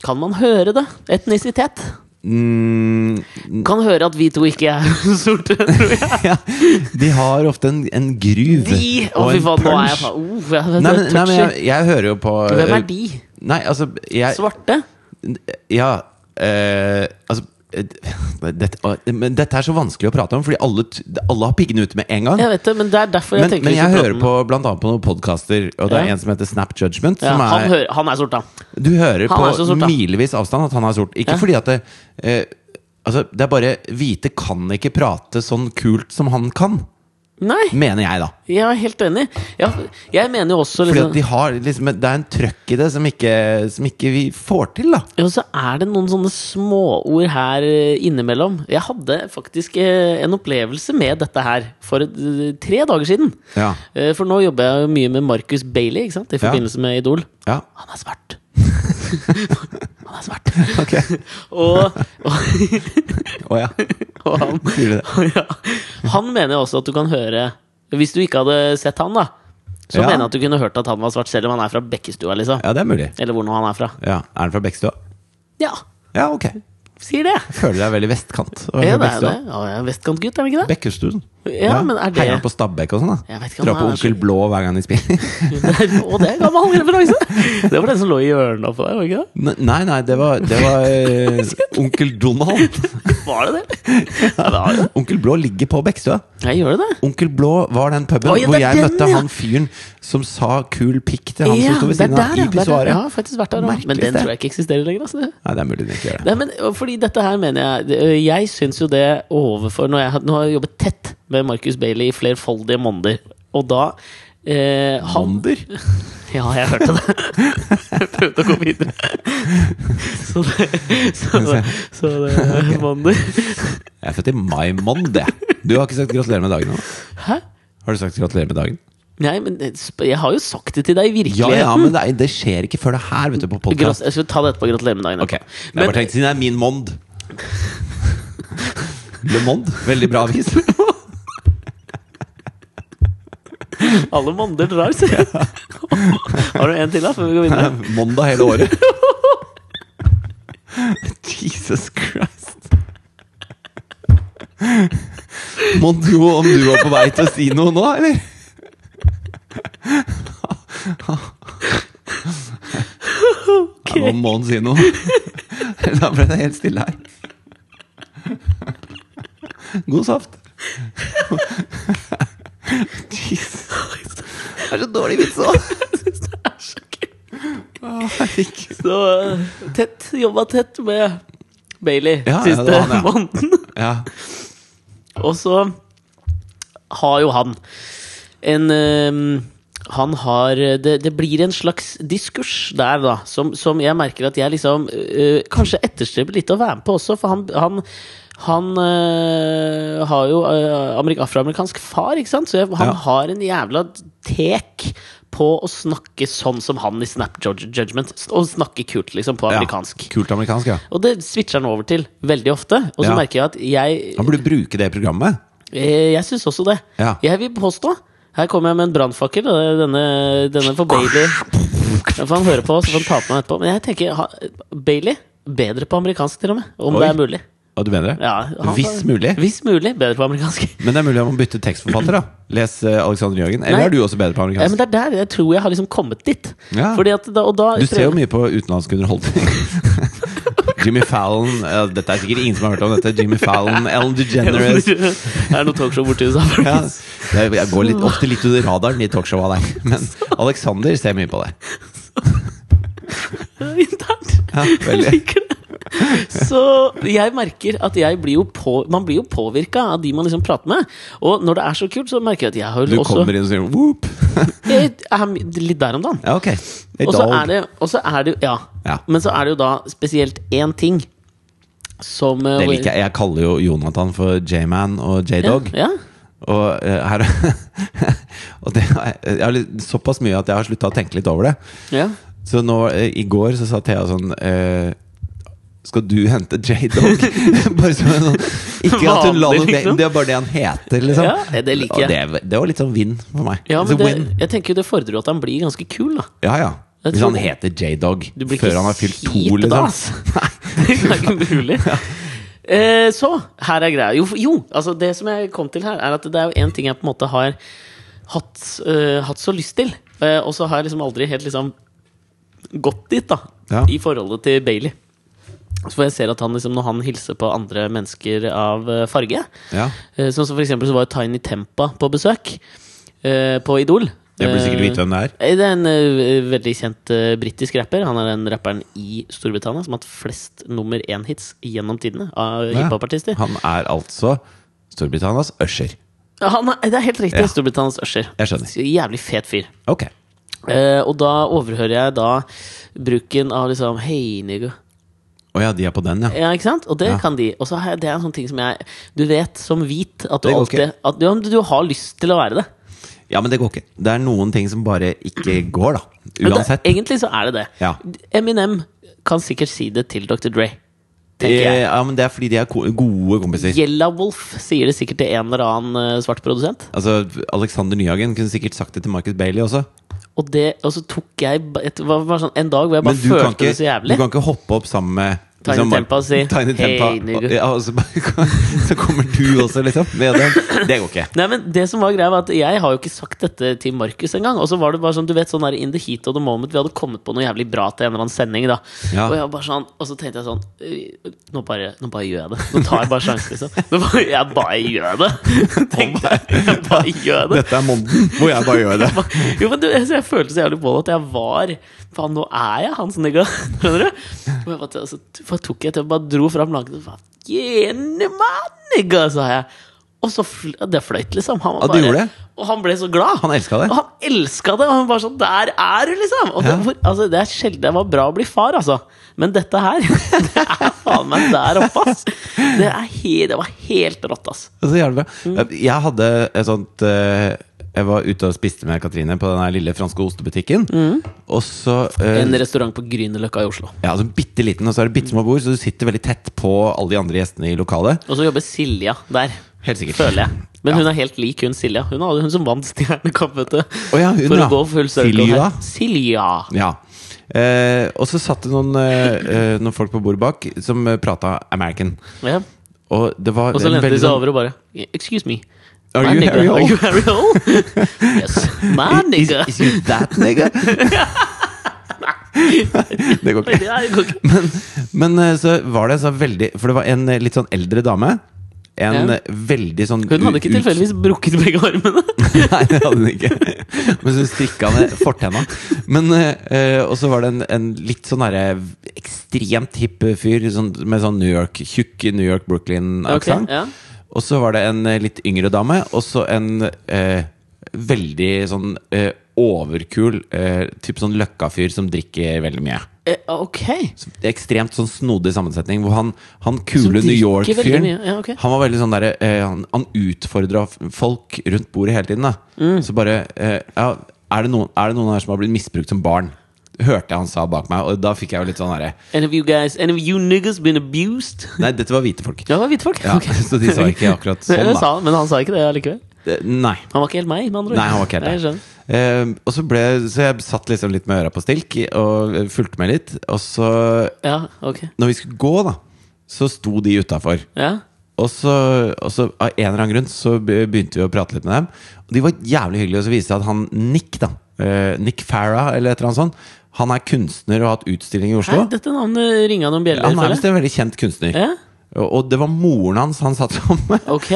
Speaker 1: Kan man høre det? Etnisitet.
Speaker 2: Mm,
Speaker 1: Kan høre at vi to ikke er sorte, tror jeg.
Speaker 2: ja. De har ofte en, en gruv
Speaker 1: De! Å, fy
Speaker 2: en
Speaker 1: faen, nå er jeg
Speaker 2: punch.
Speaker 1: faen oh, jeg,
Speaker 2: Nei, men, nei, men jeg,
Speaker 1: touchy.
Speaker 2: jeg hører jo på eh,
Speaker 1: Hvem er de?
Speaker 2: Nei, altså jeg,
Speaker 1: Svarte?
Speaker 2: Ja, eh, altså eh, dette, å, men dette er så vanskelig å prate om, fordi alle, t- alle har piggene ute med en gang.
Speaker 1: Jeg vet det, men det er derfor jeg
Speaker 2: men,
Speaker 1: tenker
Speaker 2: men
Speaker 1: vi
Speaker 2: jeg
Speaker 1: skal
Speaker 2: hører
Speaker 1: prate om
Speaker 2: på blant annet på noen podkaster, og det er
Speaker 1: Ja.
Speaker 2: en som heter Snap Judgment.
Speaker 1: det. ja,
Speaker 2: Som
Speaker 1: han,
Speaker 2: er,
Speaker 1: hører, han er sort, da.
Speaker 2: du hører
Speaker 1: Han er så
Speaker 2: på
Speaker 1: sort, da.
Speaker 2: milevis avstand at han er sort. Ikke
Speaker 1: Ja.
Speaker 2: fordi at det, eh, altså, det er bare hvite kan ikke prate sånn kult som han kan,
Speaker 1: Nei,
Speaker 2: mener jeg, da.
Speaker 1: jeg er helt enig. Ja, jeg mener jo også
Speaker 2: Fordi
Speaker 1: liksom,
Speaker 2: at de har liksom, Det er en trøkk i det som ikke, som ikke vi får til, da.
Speaker 1: Ja, og så er det noen sånne småord her eh, innimellom. Jeg hadde faktisk eh, en opplevelse med dette her for eh, tre dager siden.
Speaker 2: Ja.
Speaker 1: Eh, For nå jobber jeg jo mye med Marcus Bailey ikke sant? i
Speaker 2: Ja.
Speaker 1: forbindelse med Idol.
Speaker 2: ja.
Speaker 1: Han er svart! Han er svart. Og, og,
Speaker 2: Å ja.
Speaker 1: og han,
Speaker 2: Sier du det?
Speaker 1: ja. han mener jo også at du kan høre Hvis du ikke hadde sett han, da, så
Speaker 2: Ja.
Speaker 1: mener jeg at du kunne hørt at han var svart, selv om han er fra Bekkestua, liksom.
Speaker 2: Ja, det er mulig.
Speaker 1: Eller hvor nå han er fra.
Speaker 2: Ja. Er han fra Bekkestua?
Speaker 1: Ja,
Speaker 2: Ja, ok.
Speaker 1: sier det!
Speaker 2: Føler deg veldig vestkant. og er
Speaker 1: Ja,
Speaker 2: fra
Speaker 1: det er jo
Speaker 2: Bekkestua.
Speaker 1: det. Ja, jeg er vestkantgutt, er han ikke det?
Speaker 2: Bekkestuen.
Speaker 1: Ja, men er det-
Speaker 2: Heier han på Stabæk og sånn, da?
Speaker 1: Jeg vet ikke om
Speaker 2: Drar på
Speaker 1: han er-
Speaker 2: Onkel Blå hver gang de spiller?
Speaker 1: Der, og det er gammel referanse! Det var den som lå i hjørnet på deg, var det ikke det?
Speaker 2: N- nei, nei, det var, det var eh, Onkel Donald.
Speaker 1: Var det det? Ja, det var det.
Speaker 2: Onkel Blå ligger på Bekkstø.
Speaker 1: Jeg gjør det.
Speaker 2: Onkel Blå var den puben
Speaker 1: Å, ja, det er
Speaker 2: hvor jeg
Speaker 1: den,
Speaker 2: møtte
Speaker 1: ja.
Speaker 2: han fyren som sa 'kul pikk' til han
Speaker 1: ja,
Speaker 2: som sto ved
Speaker 1: det er
Speaker 2: siden
Speaker 1: der,
Speaker 2: av
Speaker 1: ja,
Speaker 2: i
Speaker 1: det er der.
Speaker 2: pissoaret.
Speaker 1: Ja, faktisk vært der også. Men den
Speaker 2: Merkelig sted.
Speaker 1: tror jeg ikke eksisterer lenger. Altså.
Speaker 2: Nei, det er mulig den ikke gjør det.
Speaker 1: Nei, men, og fordi dette her mener jeg det- øh, Jeg syns jo det overfor når jeg, har- Nå har jeg jobbet tett med Marcus Bailey i flerfoldige måneder, og da eh, han,
Speaker 2: Hander?
Speaker 1: Ja, jeg hørte det. Jeg prøvde å gå videre. Så det, så, det- så det Mander.
Speaker 2: Jeg er født i mai måned, jeg. Du har ikke sagt gratulerer med dagen? nå.
Speaker 1: Hæ?
Speaker 2: Har du sagt gratulerer med dagen?
Speaker 1: Nei, men det- sp- jeg har jo sagt det til deg i
Speaker 2: Ja,
Speaker 1: virkeligheten.
Speaker 2: ja, men det, er, det skjer ikke før det her, vet du, på
Speaker 1: Grat-
Speaker 2: podkast.
Speaker 1: jeg skal ta det etterpå. Gratulerer med dagen.
Speaker 2: Ok,
Speaker 1: etterpå.
Speaker 2: jeg
Speaker 1: Men-
Speaker 2: bare tenkte siden det er min måned. Le Monde. Veldig bra avis.
Speaker 1: Alle mander drar, sier jeg. Har du en til, da, før vi går videre?
Speaker 2: Mandag hele året. Jesus Christ. Må du om du var på vei til å si noe nå, eller? Ja, nå må han si noe. Da ble det helt stille her. God saft. Jesus. Det er så dårlig vits òg.
Speaker 1: Så eh, tett, jobba tett med Bailey
Speaker 2: Ja, ja, det
Speaker 1: siste
Speaker 2: var han, ja.
Speaker 1: måneden.
Speaker 2: Ja.
Speaker 1: Og så har jo han en eh, han har det, det blir en slags diskurs der, da, som, som jeg merker at jeg liksom eh, kanskje etterstreber litt å være med på også, for han, han han eh, har jo eh, amerik afroamerikansk far, ikke sant? Så jeg, han
Speaker 2: Ja.
Speaker 1: har en jævla tek på å snakke sånn som han i Snap Judge- Judgment. Og snakke kult, liksom, på
Speaker 2: Ja.
Speaker 1: amerikansk.
Speaker 2: Kult amerikansk, ja.
Speaker 1: Og det switcher han over til veldig ofte. Og så
Speaker 2: Ja.
Speaker 1: merker jeg at jeg
Speaker 2: Han burde bruke det i programmet.
Speaker 1: Eh, Jeg syns også det.
Speaker 2: Ja.
Speaker 1: Jeg vil påstå Her kommer jeg med en brannfakkel. og det er Denne, denne for Bailey. Ja, For han hører på, så får han ta på meg etterpå. Men jeg tenker ha, Bailey bedre på amerikansk, til og med. Om
Speaker 2: Oi.
Speaker 1: det er mulig.
Speaker 2: Hva du mener det?
Speaker 1: Ja, han-
Speaker 2: Hvis mulig.
Speaker 1: Hvis mulig, bedre på amerikansk.
Speaker 2: Men det er mulig om man bytter tekstforfatter, da. Les eh, Alexander Jørgen. Eller
Speaker 1: Nei.
Speaker 2: er du også bedre på
Speaker 1: Ja, men
Speaker 2: amerikansk?
Speaker 1: det er der jeg tror jeg har liksom kommet dit.
Speaker 2: Ja.
Speaker 1: Fordi at da, og da
Speaker 2: Du ser jo mye på utenlandsk underholdning. Jimmy Fallon eh, Dette er sikkert ingen som har hørt om dette. Jimmy Fallon, Ellen DeGeneres
Speaker 1: Det er noe talkshow borti USA.
Speaker 2: ja,
Speaker 1: faktisk.
Speaker 2: det- Jeg går litt, ofte litt under radaren i talkshowa der. Men Alexander ser mye på det.
Speaker 1: Internt.
Speaker 2: Ja,
Speaker 1: Jeg
Speaker 2: veldig.
Speaker 1: liker det. Så jeg merker at jeg blir jo på, man blir jo påvirka av de man liksom prater med. Og når det er så kult, så merker jeg at jeg har
Speaker 2: Du
Speaker 1: også
Speaker 2: kommer inn og sier whoop.
Speaker 1: Jeg er litt der om dagen.
Speaker 2: Ja, ok. Hey,
Speaker 1: Og så
Speaker 2: dog.
Speaker 1: er det, og så er det ja.
Speaker 2: Ja.
Speaker 1: Men så er det jo da spesielt én ting som eh,
Speaker 2: Det liker jeg. Jeg kaller jo Jonathan for J-Man og J-Dog.
Speaker 1: Ja,
Speaker 2: Og eh, her Og det, har jeg jeg har litt, såpass mye at jeg har slutta å tenke litt over det.
Speaker 1: ja,
Speaker 2: Så nå, eh, i går så sa Thea sånn eh, Skal du hente J-Dog? bare som en sånn Ikke at hun la noe
Speaker 1: Vanlig, liksom.
Speaker 2: Det er bare det han heter, liksom.
Speaker 1: Ja, det liker
Speaker 2: Og det, det var litt sånn vinn for meg.
Speaker 1: ja
Speaker 2: Så
Speaker 1: men det,
Speaker 2: win.
Speaker 1: jeg tenker jo det fordrer jo at han blir ganske kul, da.
Speaker 2: ja, ja.
Speaker 1: Jeg
Speaker 2: Hvis
Speaker 1: tror
Speaker 2: han
Speaker 1: det-
Speaker 2: heter J-Dog
Speaker 1: Du blir ikke
Speaker 2: før han har fylt to,
Speaker 1: kjip da,
Speaker 2: liksom.
Speaker 1: Det er ikke mulig. Eh, så, her er greia. Jo, jo, altså det som jeg kom til her, er at det er jo én ting jeg på en måte har hatt, eh, hatt så lyst til. Eh, og så har jeg liksom aldri helt liksom gått dit, da.
Speaker 2: Ja.
Speaker 1: I forholdet til Bailey. Så får jeg ser at han liksom, når han hilser på andre mennesker av eh, farge
Speaker 2: Ja.
Speaker 1: eh, Sånn som for eksempel så var jo Tiny Tempa på besøk eh, på Idol.
Speaker 2: Jeg burde sikkert vite hvem det er.
Speaker 1: Eh, Det er en eh, veldig kjent eh, britisk rapper. Han er den rapperen i Storbritannia som har hatt flest nummer én-hits gjennom tidene av
Speaker 2: Ja.
Speaker 1: hiphopartister.
Speaker 2: Han er altså Storbritannias Usher.
Speaker 1: Han er, det er helt riktig.
Speaker 2: Ja.
Speaker 1: Storbritannias Usher.
Speaker 2: Jeg skjønner.
Speaker 1: Jævlig fet fyr.
Speaker 2: Ok.
Speaker 1: Eh, og da overhører jeg da bruken av liksom Hei, nigga.
Speaker 2: Å ja, de er på den, ja.
Speaker 1: Ja, ikke sant? Og det
Speaker 2: Ja.
Speaker 1: kan de. Og så har jeg- det er en sånn ting som jeg Du vet som hvit at du
Speaker 2: Det går
Speaker 1: alltid at, ja, men du har lyst til å være det.
Speaker 2: Ja, men det går ikke. Det er noen ting som bare ikke går, da.
Speaker 1: Men det-
Speaker 2: Uansett.
Speaker 1: Egentlig så er det det.
Speaker 2: Ja.
Speaker 1: Eminem kan sikkert si det til Dr. Dre. Tenker jeg.
Speaker 2: Eh, Ja, men det er fordi de er ko- gode kompiser.
Speaker 1: Yella Wolf sier det sikkert til en eller annen eh, svart produsent.
Speaker 2: Altså, Alexander Nyhagen kunne sikkert sagt det til Marcus Bailey også.
Speaker 1: Og, det, og så tok jeg ba- et, var, var sånn, En dag hvor jeg
Speaker 2: Men
Speaker 1: bare
Speaker 2: du kan,
Speaker 1: følte det så
Speaker 2: ikke,
Speaker 1: jævlig.
Speaker 2: du kan ikke hoppe opp sammen med liksom
Speaker 1: Tiny Tempa og si,
Speaker 2: Tiny
Speaker 1: «Hei,
Speaker 2: Tempa»,
Speaker 1: nigger.
Speaker 2: ja, og så, bare- så kommer du også, liksom. Med den. Det går ikke.
Speaker 1: Nei, men det som var greia var at Jeg har jo ikke sagt dette til Markus engang. Og så var det bare sånn, du vet sånn der in the heat of the moment Vi hadde kommet på noe jævlig bra til en eller annen sending. da
Speaker 2: Ja.
Speaker 1: Og jeg var bare sånn, og så tenkte jeg sånn øh, nå bare, nå bare gjør jeg det. Nå tar jeg bare sjansen, liksom. Nå bare, jeg bare gjør det! Tenkte jeg. Jeg bare gjør det.
Speaker 2: Dette er måneden hvor jeg bare gjør det.
Speaker 1: Jo, men du, altså, Jeg følte så jævlig på det at jeg var Faen, nå er jeg hans nigga! Skjønner du? Og jeg bare, altså, hva tok jeg til? Jeg bare dro fram lanken og sa Gjerne meg, nigga! sa jeg. Og så fl det fløyt, liksom. Han var
Speaker 2: Ja, det gjorde det.
Speaker 1: Og han ble så glad.
Speaker 2: Han elska det.
Speaker 1: Og han elska det! Og han bare sånn Der er du, liksom! Og det,
Speaker 2: Ja.
Speaker 1: hvor, altså, det er sjelden jeg var bra å bli far, altså. Men dette her, det er faen meg der oppe, ass! Det, er he det var helt rått, ass.
Speaker 2: Og så hjelper
Speaker 1: Mm.
Speaker 2: det. Jeg hadde et sånt eh, Jeg var ute og spiste med Katrine på den her lille franske ostebutikken.
Speaker 1: Mm.
Speaker 2: Og så eh,
Speaker 1: En restaurant på Grünerløkka i Oslo.
Speaker 2: ja, altså Bitte liten, og så er det bitte små bord, så du sitter veldig tett på alle de andre gjestene i lokalet.
Speaker 1: Og så jobber Silja der.
Speaker 2: Helt sikkert.
Speaker 1: Føler jeg. Men hun er helt lik hun Silja. Hun, hadde, hun som vant Stjernekamp, vet du.
Speaker 2: Å ja, hun,
Speaker 1: For
Speaker 2: ja.
Speaker 1: å gå full circle
Speaker 2: Silja.
Speaker 1: her. Silja.
Speaker 2: Ja. Eh, og så satt det noen, eh, eh, noen folk på bordet bak som eh, prata American.
Speaker 1: Ja.
Speaker 2: Og det var
Speaker 1: Og så
Speaker 2: en
Speaker 1: lente de
Speaker 2: veldig
Speaker 1: seg
Speaker 2: sånn-
Speaker 1: over og bare Excuse me.
Speaker 2: Are
Speaker 1: My
Speaker 2: you
Speaker 1: nigga,
Speaker 2: Harry Hole?"
Speaker 1: Are you Harry Hole? yes. My nigga.
Speaker 2: Is, is you that nigga? det går
Speaker 1: Oi,
Speaker 2: ikke.
Speaker 1: det er jo ikke-
Speaker 2: Men, men eh, så var det så veldig For det var en eh, litt sånn eldre dame. En
Speaker 1: Ja.
Speaker 2: eh, veldig sånn
Speaker 1: Hun hadde ikke
Speaker 2: ut-
Speaker 1: tilfeldigvis brukket begge armene.
Speaker 2: Nei, det hadde hun ikke. Men så strikka ned fortenna. Men, eh, eh, og så var det en, en litt sånn derre ekstremt hipp fyr sånn, med sånn New York, tjukk New York-Brooklyn-aksent.
Speaker 1: Ok, ja.
Speaker 2: Og så var det en eh, litt yngre dame, og så en eh, veldig sånn eh, overkul eh, typ sånn løkkafyr som drikker veldig mye.
Speaker 1: Eh, ok.
Speaker 2: Så det er Ekstremt sånn snodig sammensetning. Hvor han, han kule
Speaker 1: Som drikker
Speaker 2: New
Speaker 1: veldig
Speaker 2: York-fyren
Speaker 1: mye, ja, ok.
Speaker 2: Han var veldig sånn der, eh, Han, han utfordra f- folk rundt bordet hele tiden. Da.
Speaker 1: Mm.
Speaker 2: Så bare eh, ja, er, det noen, er det noen her som har blitt misbrukt som barn? Hørte jeg han sa bak meg, og da fikk jeg jo litt sånn herre
Speaker 1: Any of you guys, any of you niggas been abused?
Speaker 2: Nei, dette var hvite folk.
Speaker 1: Ja, det var hvite folk.
Speaker 2: Ja,
Speaker 1: Ok.
Speaker 2: så de sa ikke akkurat sånn,
Speaker 1: Det
Speaker 2: da.
Speaker 1: sa han, Men han sa ikke det allikevel.
Speaker 2: Eh, Nei.
Speaker 1: Han var ikke helt meg, med andre ord.
Speaker 2: Nei, han var ikke helt
Speaker 1: Nei, jeg
Speaker 2: der.
Speaker 1: skjønner.
Speaker 2: Eh, og så, ble, så jeg satt liksom litt med øra på stilk og eh, fulgte med litt. Og så,
Speaker 1: Ja, ok.
Speaker 2: når vi skulle gå, da, så sto de utafor.
Speaker 1: Ja.
Speaker 2: Og så, og så av en eller annen grunn så be- begynte vi å prate litt med dem. Og de var jævlig hyggelige. Og så viste det seg at han Nick, da eh, Nick Farah, eller et eller annet sånt, han er kunstner og har hatt utstilling i Oslo.
Speaker 1: Hæ, dette navnet ringa noen bjeller,
Speaker 2: han er
Speaker 1: føler
Speaker 2: visst
Speaker 1: jeg.
Speaker 2: en veldig kjent kunstner.
Speaker 1: Ja?
Speaker 2: Og, og det var moren hans han satt sammen med.
Speaker 1: Ok.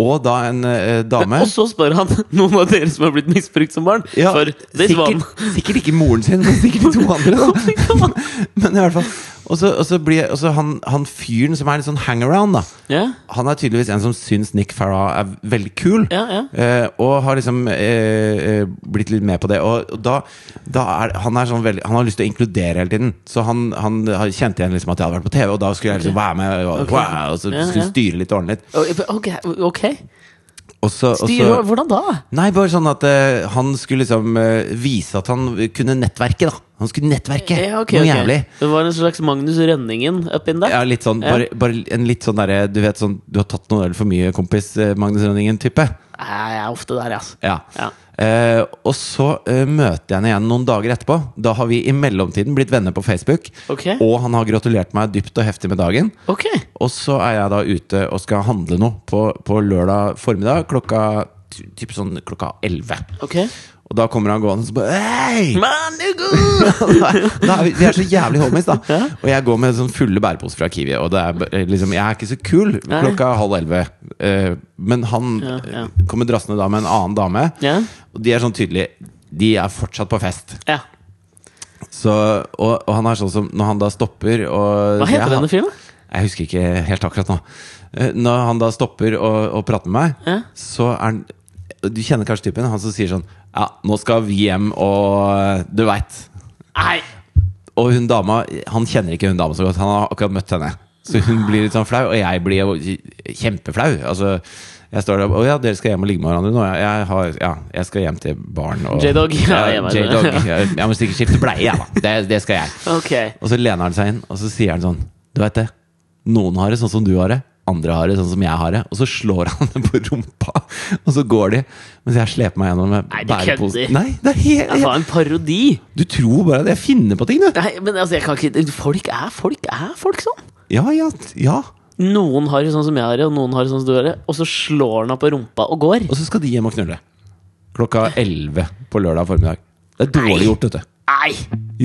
Speaker 2: Og da en eh, dame.
Speaker 1: Og så spør han noen av dere som har blitt misbrukt som barn.
Speaker 2: Ja,
Speaker 1: for this one. Oh
Speaker 2: sikkert, sikkert ikke moren sin, men sikkert de to andre. Da. Men i hvert fall Og så, og så blir og så han, han fyren som er litt sånn hangaround, da.
Speaker 1: Ja,
Speaker 2: Han er tydeligvis en som syns Nick Farah er veldig kul.
Speaker 1: ja, ja.
Speaker 2: Eh, og har liksom eh, eh, blitt litt med på det. Og, og da, da er han er sånn veldig Han har lyst til å inkludere hele tiden. Så han, han har- kjente igjen liksom at jeg hadde vært på TV, og da skulle jeg liksom være med og,
Speaker 1: Ok.
Speaker 2: wow, og så
Speaker 1: Ja,
Speaker 2: skulle
Speaker 1: ja.
Speaker 2: styre litt og ordne litt.
Speaker 1: eh, Ok, ok.
Speaker 2: Og så, og
Speaker 1: Styre,
Speaker 2: så,
Speaker 1: hvordan da?
Speaker 2: nei, bare sånn at eh, han skulle liksom eh, vise at han kunne nettverket, da. Han skulle nettverke
Speaker 1: Ja, ok,
Speaker 2: noe
Speaker 1: ok.
Speaker 2: jævlig.
Speaker 1: Det var en slags Magnus Rønningen up in
Speaker 2: Ja,
Speaker 1: there?
Speaker 2: litt sånn, bare, bare en litt sånn derre Du vet sånn, du har tatt noen øl for mye, kompis, eh, Magnus Rønningen-type.
Speaker 1: Nei, Jeg er ofte der, altså.
Speaker 2: Ja.
Speaker 1: Ja.
Speaker 2: Eh, og så eh, møter jeg henne igjen noen dager etterpå. Da har vi i mellomtiden blitt venner på Facebook.
Speaker 1: Ok.
Speaker 2: Og han har gratulert meg dypt og heftig med dagen.
Speaker 1: Ok.
Speaker 2: Og så er jeg da ute og skal handle noe på, på lørdag formiddag klokka ty- typ sånn klokka 11.
Speaker 1: ok
Speaker 2: Og da kommer han gående og så bare Hei!
Speaker 1: Man, du god!
Speaker 2: da er vi, vi er så jævlig homies, da.
Speaker 1: Ja.
Speaker 2: Og jeg går med sånn fulle bæreposer fra Kiwi. Og det er, b- liksom, jeg er ikke så kul
Speaker 1: Nei.
Speaker 2: klokka halv elleve. Eh, men han
Speaker 1: Ja, ja.
Speaker 2: eh, kommer drassende da med en annen dame.
Speaker 1: Ja.
Speaker 2: Og de er sånn tydelig De er fortsatt på fest.
Speaker 1: Ja.
Speaker 2: Så, og, og han er sånn som når han da stopper og
Speaker 1: Hva heter
Speaker 2: jeg,
Speaker 1: denne fyren, da?
Speaker 2: Jeg husker ikke helt akkurat nå. Eh, Når han da stopper og, og prater med meg,
Speaker 1: Ja.
Speaker 2: så er han Du kjenner kanskje typen? Han som sier sånn Ja, nå skal vi hjem, og du veit.
Speaker 1: Nei!
Speaker 2: Og hun dama, han kjenner ikke hun dama så godt, han har akkurat møtt henne. Så hun blir litt sånn flau, og jeg blir jo kjempeflau. Altså, jeg står der og Å ja, dere skal hjem og ligge med hverandre nå? ja. Jeg, har, ja, jeg skal hjem til barn og
Speaker 1: J-Dog, ja,
Speaker 2: Ja,
Speaker 1: hjemme,
Speaker 2: J-Dog.
Speaker 1: ja.
Speaker 2: Jeg, jeg må sikkert skifte bleie, jeg, da. Det, det skal jeg.
Speaker 1: Ok.
Speaker 2: Og så lener han seg inn, og så sier han sånn Du veit det, noen har det sånn som du har det. andre har det sånn som jeg har det. Og så slår han dem på rumpa, og så går de. Mens jeg sleper meg gjennom med
Speaker 1: Nei, du
Speaker 2: bæreposen.
Speaker 1: kødder.
Speaker 2: Nei, det er
Speaker 1: Det
Speaker 2: helt
Speaker 1: var en parodi!
Speaker 2: Du tror bare at jeg finner på ting, du.
Speaker 1: Nei, men altså, jeg kan ikke Folk er folk er folk sånn!
Speaker 2: Ja, ja, ja.
Speaker 1: Noen har det sånn som jeg har det, og noen har det sånn som du har det, og så slår han deg på rumpa og går.
Speaker 2: Og så skal de hjem og knulle. Klokka 11 på lørdag formiddag. Det er dårlig
Speaker 1: Nei.
Speaker 2: gjort, vet du.
Speaker 1: Nei!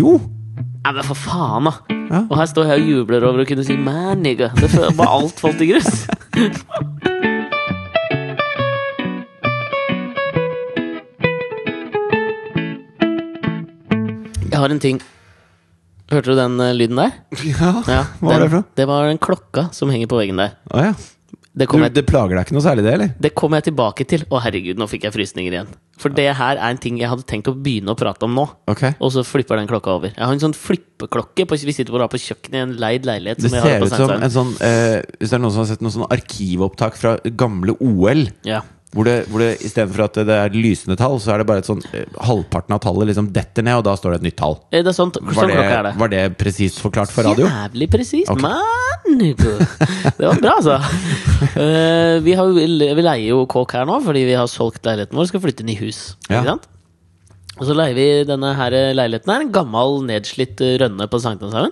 Speaker 2: Jo.
Speaker 1: Nei, men for faen, da!
Speaker 2: Ja.
Speaker 1: Og her står jeg og jubler over å kunne si 'man, nigga'. Det fø- var alt falt i grus. Jeg har en ting. Hørte du den eh, lyden der?
Speaker 2: Ja.
Speaker 1: Ja,
Speaker 2: Hva var
Speaker 1: den,
Speaker 2: det for noe?
Speaker 1: Det var den klokka som henger på veggen der.
Speaker 2: Å ja.
Speaker 1: Det
Speaker 2: Du,
Speaker 1: kom, jeg,
Speaker 2: det plager deg ikke noe særlig, det, eller?
Speaker 1: det kom jeg tilbake til. Å, herregud, nå fikk jeg frysninger igjen. For det her er en ting jeg hadde tenkt å begynne å prate om nå.
Speaker 2: Ok
Speaker 1: Og så flipper den klokka over. Jeg har en sånn flippeklokke. På, vi sitter bare på kjøkkenet i en leid leilighet.
Speaker 2: Det
Speaker 1: Som jeg har
Speaker 2: ser
Speaker 1: på
Speaker 2: ut som en
Speaker 1: Sankthanshallen.
Speaker 2: sånn eh, Hvis det er noen som har sett noen sånn arkivopptak fra gamle OL,
Speaker 1: ja.
Speaker 2: hvor det, hvor det istedenfor at det er lysende tall, så er det bare et sånn eh, Halvparten av tallet liksom detter ned, og da står det et nytt tall.
Speaker 1: Eh, Det er sånn, sånn
Speaker 2: Var det,
Speaker 1: klokka er det.
Speaker 2: var det presist forklart for radio?
Speaker 1: Jævlig presis.
Speaker 2: Ok.
Speaker 1: Man! Det var bra, altså. Eh, vi, har, jo- vi leier jo kåk her nå fordi vi har solgt leiligheten vår og skal flytte inn i hus. Ikke
Speaker 2: Ja.
Speaker 1: sant? Og så leier vi denne her eh, leiligheten her. En gammel, nedslitt eh, rønne på Sankthanshaugen.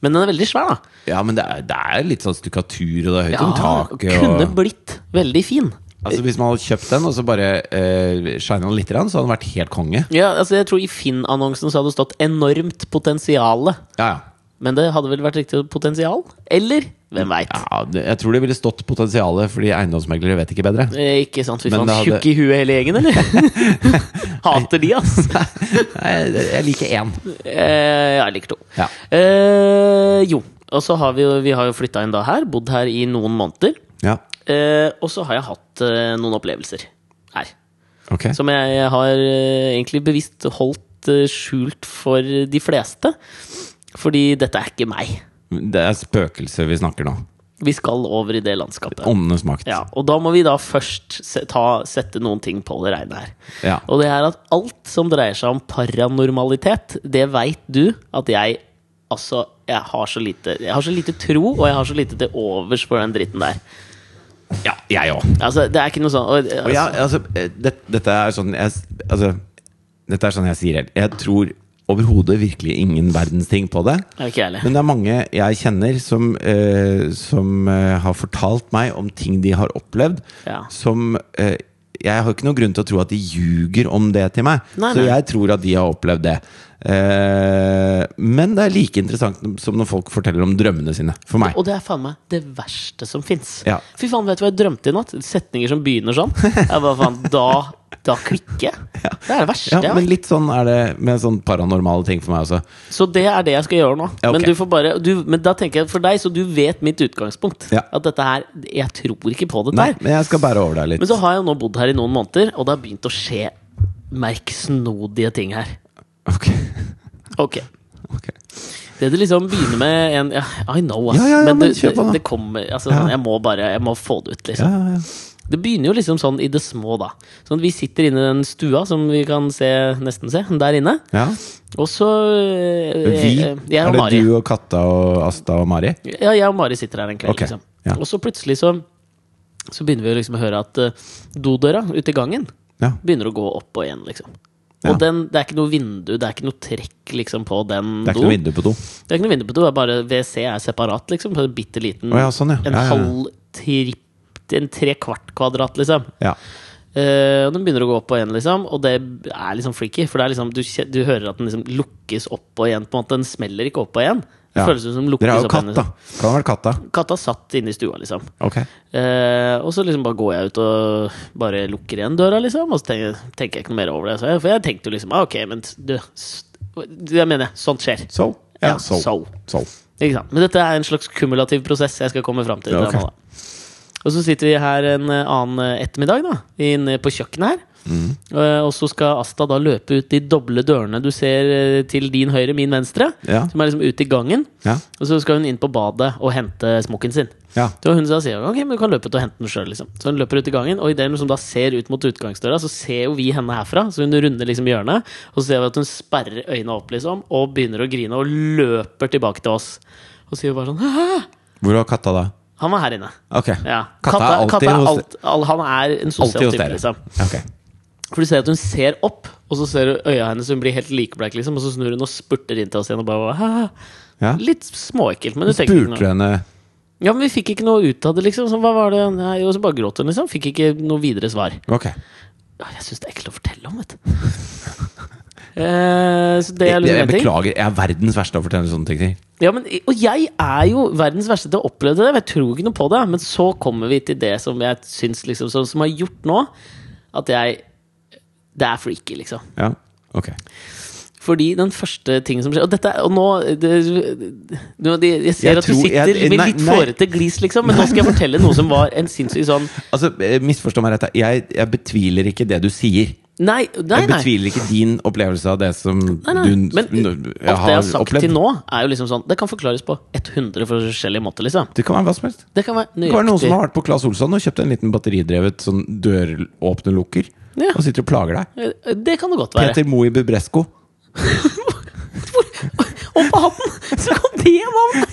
Speaker 1: Men den er veldig svær, da.
Speaker 2: Ja, men det er, det er litt sånn stukkatur, og det er høyt om taket.
Speaker 1: kunne
Speaker 2: Og,
Speaker 1: blitt veldig fin.
Speaker 2: altså, hvis man hadde kjøpt den, og så bare eh, shina den litt, grann, så hadde den vært helt konge.
Speaker 1: Ja, altså jeg tror I Finn-annonsen så hadde det stått 'enormt potensiale'.
Speaker 2: Ja, ja.
Speaker 1: Men det hadde vel vært riktig potensial? Eller? Hvem veit?
Speaker 2: Ja, det- jeg tror det ville stått potensialet, fordi eiendomsmeglere vet ikke bedre.
Speaker 1: Eh, Ikke sant? Fy
Speaker 2: Men
Speaker 1: faen,
Speaker 2: det hadde-
Speaker 1: tjukk i huet hele gjengen, eller? Hater de, ass!
Speaker 2: Nei, jeg liker én.
Speaker 1: Eh, jeg liker to.
Speaker 2: Ja.
Speaker 1: Eh, jo, og så har vi jo, vi har jo flytta inn da her. Bodd her i noen måneder.
Speaker 2: Ja,
Speaker 1: Eh, og så har jeg hatt eh, noen opplevelser her.
Speaker 2: ok.
Speaker 1: Som jeg har eh, egentlig bevisst holdt eh, skjult for de fleste. Fordi dette er ikke meg.
Speaker 2: Det er spøkelser vi snakker nå.
Speaker 1: Vi skal over i det landskapet.
Speaker 2: Åndenes makt.
Speaker 1: Ja, og da må vi da først se, ta, sette noen ting på det regnet her.
Speaker 2: Ja.
Speaker 1: Og det er at alt som dreier seg om paranormalitet, det veit du at jeg Altså, jeg har så lite Jeg har så lite tro, og jeg har så lite til overs for den dritten der.
Speaker 2: Ja, jeg òg.
Speaker 1: Altså, det er ikke noe sånn og, altså,
Speaker 2: Og jeg, altså, eh, det, dette er sånn jeg, s- altså, Dette er sånn jeg sier helt. Jeg tror overhodet virkelig ingen verdens ting på det.
Speaker 1: Jeg er ikke ærlig.
Speaker 2: Men det er mange jeg kjenner som, eh, som eh, har fortalt meg om ting de har opplevd.
Speaker 1: Ja.
Speaker 2: Som eh, Jeg har ikke noen grunn til å tro at de ljuger om det til meg.
Speaker 1: Nei,
Speaker 2: Så
Speaker 1: nei.
Speaker 2: jeg tror at de har opplevd det. Eh, men det er like interessant som når folk forteller om drømmene sine. For meg.
Speaker 1: Og det er faen meg det verste som fins.
Speaker 2: Ja.
Speaker 1: Fy faen, vet du hva jeg drømte i natt? Setninger som begynner sånn. Jeg bare faen, Da, da klikker jeg. Det er det verste.
Speaker 2: Ja,
Speaker 1: jeg
Speaker 2: men litt sånn er det med sånn paranormale ting for meg også.
Speaker 1: Så det er det jeg skal gjøre nå.
Speaker 2: Ja, ok.
Speaker 1: Men, du får bare, du, men da tenker jeg for deg, så du vet mitt utgangspunkt.
Speaker 2: Ja.
Speaker 1: At dette her Jeg tror ikke på dette
Speaker 2: Nei,
Speaker 1: her.
Speaker 2: men jeg skal bære over deg litt.
Speaker 1: Men så har jeg jo nå bodd her i noen måneder, og det har begynt å skje merksnodige ting her.
Speaker 2: Ok.
Speaker 1: Ok
Speaker 2: Ok.
Speaker 1: det du liksom begynner med en ja, I know, ass.
Speaker 2: Ja, ja, ja, men
Speaker 1: det,
Speaker 2: kjør på da.
Speaker 1: det, det kommer altså,
Speaker 2: Ja.
Speaker 1: sånn, Jeg må bare Jeg må få det ut, liksom.
Speaker 2: Ja, ja, ja.
Speaker 1: Det begynner jo liksom sånn i det små, da. Sånn at Vi sitter inne i den stua som vi kan se, nesten se, der inne.
Speaker 2: ja.
Speaker 1: Og så øh,
Speaker 2: Vi?
Speaker 1: jeg- Jeg
Speaker 2: er
Speaker 1: og
Speaker 2: det
Speaker 1: Mari.
Speaker 2: du og Katta og Asta og Mari?
Speaker 1: Ja, jeg og Mari sitter her en kveld,
Speaker 2: Ok,
Speaker 1: liksom.
Speaker 2: ja.
Speaker 1: Og så plutselig så, så begynner vi å liksom høre at eh, dodøra ute i gangen
Speaker 2: Ja.
Speaker 1: begynner å gå opp og igjen, liksom.
Speaker 2: Ja.
Speaker 1: Og den, det er ikke noe vindu, det er ikke noe trekk liksom på den
Speaker 2: Det er ikke
Speaker 1: doen.
Speaker 2: noe vindu på do.
Speaker 1: Det er ikke noe vindu på do, det er bare WC er separat, liksom. På en bitte liten
Speaker 2: Å ja, sånn, ja.
Speaker 1: En
Speaker 2: Ja, ja, ja.
Speaker 1: halv tripp En tre kvart kvadrat, liksom.
Speaker 2: Ja.
Speaker 1: Eh, og den begynner å gå opp og igjen, liksom. Og det er liksom freaky. For det er liksom, du, kje- du hører at den liksom lukkes opp og igjen. På en måte, Den smeller ikke opp og igjen. Det
Speaker 2: Ja.
Speaker 1: føles ut som den lukkes
Speaker 2: Dere har jo
Speaker 1: opp igjen.
Speaker 2: katt, da. Kan ha vært katta.
Speaker 1: Liksom. Katta satt inne i stua, liksom.
Speaker 2: Ok.
Speaker 1: Eh, og så liksom bare går jeg ut og bare lukker igjen døra, liksom. Og så tenker, tenker jeg ikke noe mer over det. Så jeg, for jeg tenkte jo liksom ah, Ok, men du s- du, Jeg mener, sånt skjer.
Speaker 2: So. Ja,
Speaker 1: Ja,
Speaker 2: so.
Speaker 1: so.
Speaker 2: So.
Speaker 1: Ikke sant? Men dette er en slags kumulativ prosess jeg skal komme fram til.
Speaker 2: Ja, ok.
Speaker 1: nå, da. Og så sitter vi her en eh, annen eh, ettermiddag da, inne på kjøkkenet her.
Speaker 2: Mm.
Speaker 1: Eh, og så skal Asta da løpe ut de doble dørene du ser eh, til din høyre, min venstre.
Speaker 2: Ja.
Speaker 1: Som er liksom ute i gangen.
Speaker 2: Ja.
Speaker 1: Og så skal hun inn på badet og hente smokken sin.
Speaker 2: Ja.
Speaker 1: Så hun da sier ok, men du kan løpe ut og hente den sjøl. Liksom. Så hun løper ut i gangen, og idet hun da ser ut mot utgangsdøra, så ser jo vi henne herfra. Så hun runder liksom hjørnet, og så ser vi at hun sperrer øynene opp liksom, og begynner å grine og løper tilbake til oss. Og sier bare sånn Hæ?
Speaker 2: Hvor var katta da?
Speaker 1: Han var her inne.
Speaker 2: Ok.
Speaker 1: Ja.
Speaker 2: Katta er alltid hos-
Speaker 1: alt, all, Han er en
Speaker 2: Alltid
Speaker 1: sosial
Speaker 2: hos
Speaker 1: type,
Speaker 2: dere.
Speaker 1: liksom.
Speaker 2: Ok.
Speaker 1: For du ser at hun ser opp, og så ser du øya hennes, hun blir helt likbleik, liksom, og så snur hun og spurter inn til oss igjen og bare «Haha».
Speaker 2: Ja.
Speaker 1: Litt småekkelt, men du tenker ikke
Speaker 2: Spurte du
Speaker 1: noe.
Speaker 2: henne
Speaker 1: Ja, men vi fikk ikke noe ut av det, liksom. Så hva var det? Nei, og så bare gråt hun, liksom. Fikk ikke noe videre svar.
Speaker 2: Ok.
Speaker 1: Ja, jeg syns det er ekkelt å fortelle om, vet du. Eh, så det er
Speaker 2: Jeg,
Speaker 1: liksom
Speaker 2: jeg
Speaker 1: en ting.
Speaker 2: beklager. Jeg er verdens verste til å fortelle sånne ting.
Speaker 1: Ja, men, og jeg er jo verdens verste til å oppleve det. Jeg tror ikke noe på det. Men så kommer vi til det som jeg syns liksom, som, som har gjort nå at jeg Det er freaky, liksom.
Speaker 2: Ja. Ok.
Speaker 1: Fordi den første tingen som skjer Og, dette, er- og nå det, nå- de, Jeg ser
Speaker 2: Jeg
Speaker 1: at du
Speaker 2: tror-
Speaker 1: sitter
Speaker 2: jeg-
Speaker 1: med
Speaker 2: nei,
Speaker 1: litt
Speaker 2: nei.
Speaker 1: fårete glis, liksom, men nå skal jeg fortelle noe som var en sinnssyk sånn
Speaker 2: Altså, eh, misforstå meg rett. da. Jeg, jeg betviler ikke det du sier.
Speaker 1: Nei, nei.
Speaker 2: Jeg
Speaker 1: nei.
Speaker 2: betviler ikke din opplevelse av det som
Speaker 1: Nei, nei.
Speaker 2: du
Speaker 1: Men alt
Speaker 2: n-
Speaker 1: det jeg har sagt til nå, er jo liksom sånn Det kan forklares på 100 forskjellige måter, liksom.
Speaker 2: Det kan være hva som helst.
Speaker 1: Det kan være
Speaker 2: Det
Speaker 1: nøyaktig.
Speaker 2: kan være noen som har vært på Claes Olsson og kjøpt en liten batteridrevet sånn døråpner-lukker.
Speaker 1: Ja.
Speaker 2: Og sitter og plager deg.
Speaker 1: Eh, Det kan det godt være.
Speaker 2: Peter Moe i Bubresco.
Speaker 1: Opp av hatten! Så kom det en mann!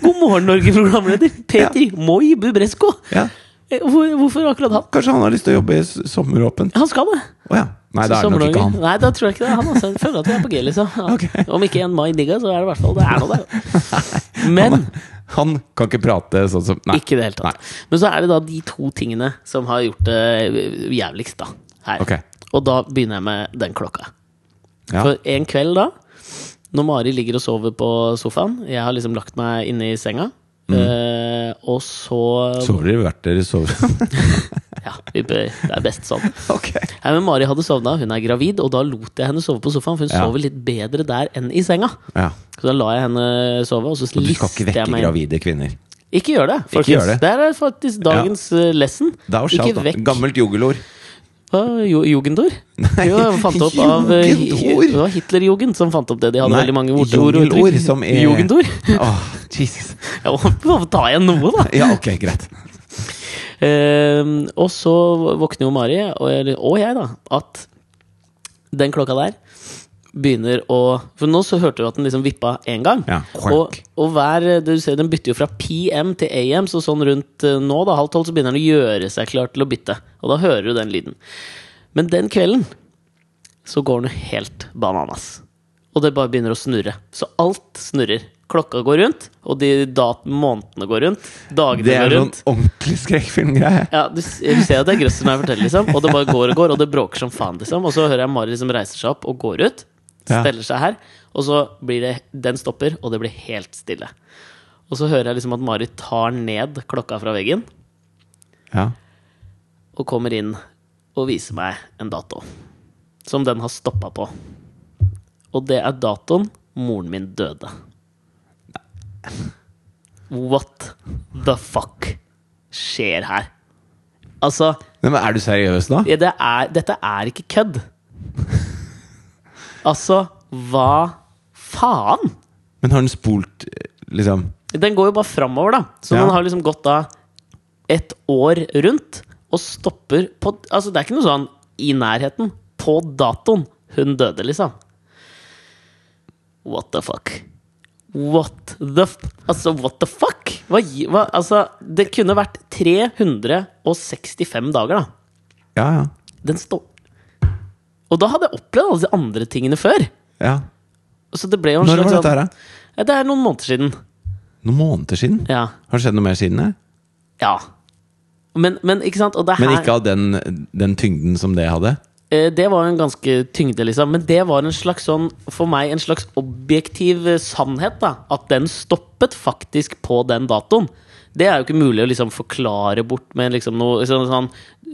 Speaker 1: God morgen, Norge-programleder Peter Moi Bubresko.
Speaker 2: Ja.
Speaker 1: Eh, Hvor, hvorfor akkurat han?
Speaker 2: Kanskje han har lyst til å jobbe i s- sommeråpent?
Speaker 1: Han skal det.
Speaker 2: Å ja. Nei,
Speaker 1: Så
Speaker 2: det er det nok
Speaker 1: sommerdager-
Speaker 2: ikke han.
Speaker 1: Nei, da tror jeg ikke det er han. Altså. Jeg føler at vi er på G, liksom. Ja.
Speaker 2: Ok.
Speaker 1: Om ikke en mai digga, så er det i hvert fall det er noe der. Men
Speaker 2: Han kan ikke prate sånn som Nei.
Speaker 1: ikke i det hele tatt. Men så er det da de to tingene som har gjort det jævligst, da. Her.
Speaker 2: Ok.
Speaker 1: Og da begynner jeg med den klokka.
Speaker 2: Ja.
Speaker 1: For en kveld da, når Mari ligger og sover på sofaen Jeg har liksom lagt meg inne i senga.
Speaker 2: Mm.
Speaker 1: eh, og så
Speaker 2: Sover dere hvert dere sover?
Speaker 1: Ja, vi bør, det er best sånn.
Speaker 2: ok.
Speaker 1: Nei, men Mari hadde sovna, hun er gravid, og da lot jeg henne sove på sofaen. For hun
Speaker 2: Ja.
Speaker 1: sover litt bedre der enn i senga.
Speaker 2: Ja.
Speaker 1: Så da la jeg henne sove, og så
Speaker 2: Du skal ikke
Speaker 1: lister jeg
Speaker 2: vekke
Speaker 1: meg inn.
Speaker 2: gravide kvinner.
Speaker 1: Ikke gjør det, folkens.
Speaker 2: gjør det.
Speaker 1: Der er faktisk dagens eh, lesson.
Speaker 2: Thou shalt,
Speaker 1: Ikke
Speaker 2: da.
Speaker 1: vekk
Speaker 2: Gammelt jogelord.
Speaker 1: Hva, jo, Jugendord?
Speaker 2: Nei,
Speaker 1: jo, jeg fant opp av eh,
Speaker 2: jugendord!
Speaker 1: Det var Hitlerjugend som fant opp det. De hadde
Speaker 2: Nei,
Speaker 1: veldig mange ordeord. og
Speaker 2: jungelord
Speaker 1: uttrykk.
Speaker 2: som er-
Speaker 1: Jugendord?
Speaker 2: Åh, Jesus.
Speaker 1: Ja, må få ta igjen noe, da!
Speaker 2: Ja, ok, greit.
Speaker 1: Ehm, og så våkner jo Mari, og, eller- og jeg, da, at den klokka der begynner å For nå så hørte du at den liksom vippa én gang.
Speaker 2: Ja,
Speaker 1: og,
Speaker 2: quirk.
Speaker 1: og hver du ser, Den bytter jo fra PM til AM, så sånn rundt eh, nå, da, halv tolv, så begynner den å gjøre seg klar til å bytte. Og da hører du den lyden. Men den kvelden så går den helt bananas. Og det bare begynner å snurre. Så alt snurrer. Klokka går rundt, og de dat månedene går rundt. Dagene
Speaker 2: Det er
Speaker 1: går
Speaker 2: sånn
Speaker 1: rundt.
Speaker 2: ordentlig skrekkfilmgreie.
Speaker 1: Ja, du, s- du ser at det er grøss når jeg forteller, liksom. Og det bare går og går, og det bråker som faen, liksom. Og så hører jeg Mari liksom reiser seg opp og går ut.
Speaker 2: Ja.
Speaker 1: Steller seg her. Og så blir det Den stopper, og det blir helt stille. Og så hører jeg liksom at Mari tar ned klokka fra veggen
Speaker 2: Ja.
Speaker 1: og kommer inn og viser meg en dato. Som den har stoppa på. Og det er datoen moren min døde. What the fuck skjer her? Altså
Speaker 2: Nei, men er du seriøs nå?
Speaker 1: ja, det er, dette er ikke kødd. Altså, hva faen?
Speaker 2: Men har den spolt eh, liksom
Speaker 1: Den går jo bare framover, da. Så
Speaker 2: Ja.
Speaker 1: den har liksom gått da et år rundt og stopper på Altså, det er ikke noe sånn i nærheten. På datoen hun døde, liksom. What the fuck? What the f... Altså, what the fuck? Hva, gi- hva, altså, det kunne vært 365 dager, da.
Speaker 2: Ja, ja.
Speaker 1: Den står Og da hadde jeg opplevd alle de andre tingene før.
Speaker 2: ja.
Speaker 1: Så det ble jo en
Speaker 2: Når var
Speaker 1: slags
Speaker 2: dette
Speaker 1: sånn-
Speaker 2: her, da?
Speaker 1: Ja, Det er noen måneder siden.
Speaker 2: Noen måneder siden?
Speaker 1: Ja.
Speaker 2: Har det skjedd noe mer siden det?
Speaker 1: ja. Men, men ikke sant? Og det,
Speaker 2: Men
Speaker 1: her,
Speaker 2: ikke av den, den tyngden som det hadde?
Speaker 1: eh, det var jo en ganske tyngde, liksom. Men det var en slags sånn, for meg en slags objektiv eh, sannhet. da At den stoppet faktisk på den datoen. Det er jo ikke mulig å liksom forklare bort med liksom noe liksom, sånn,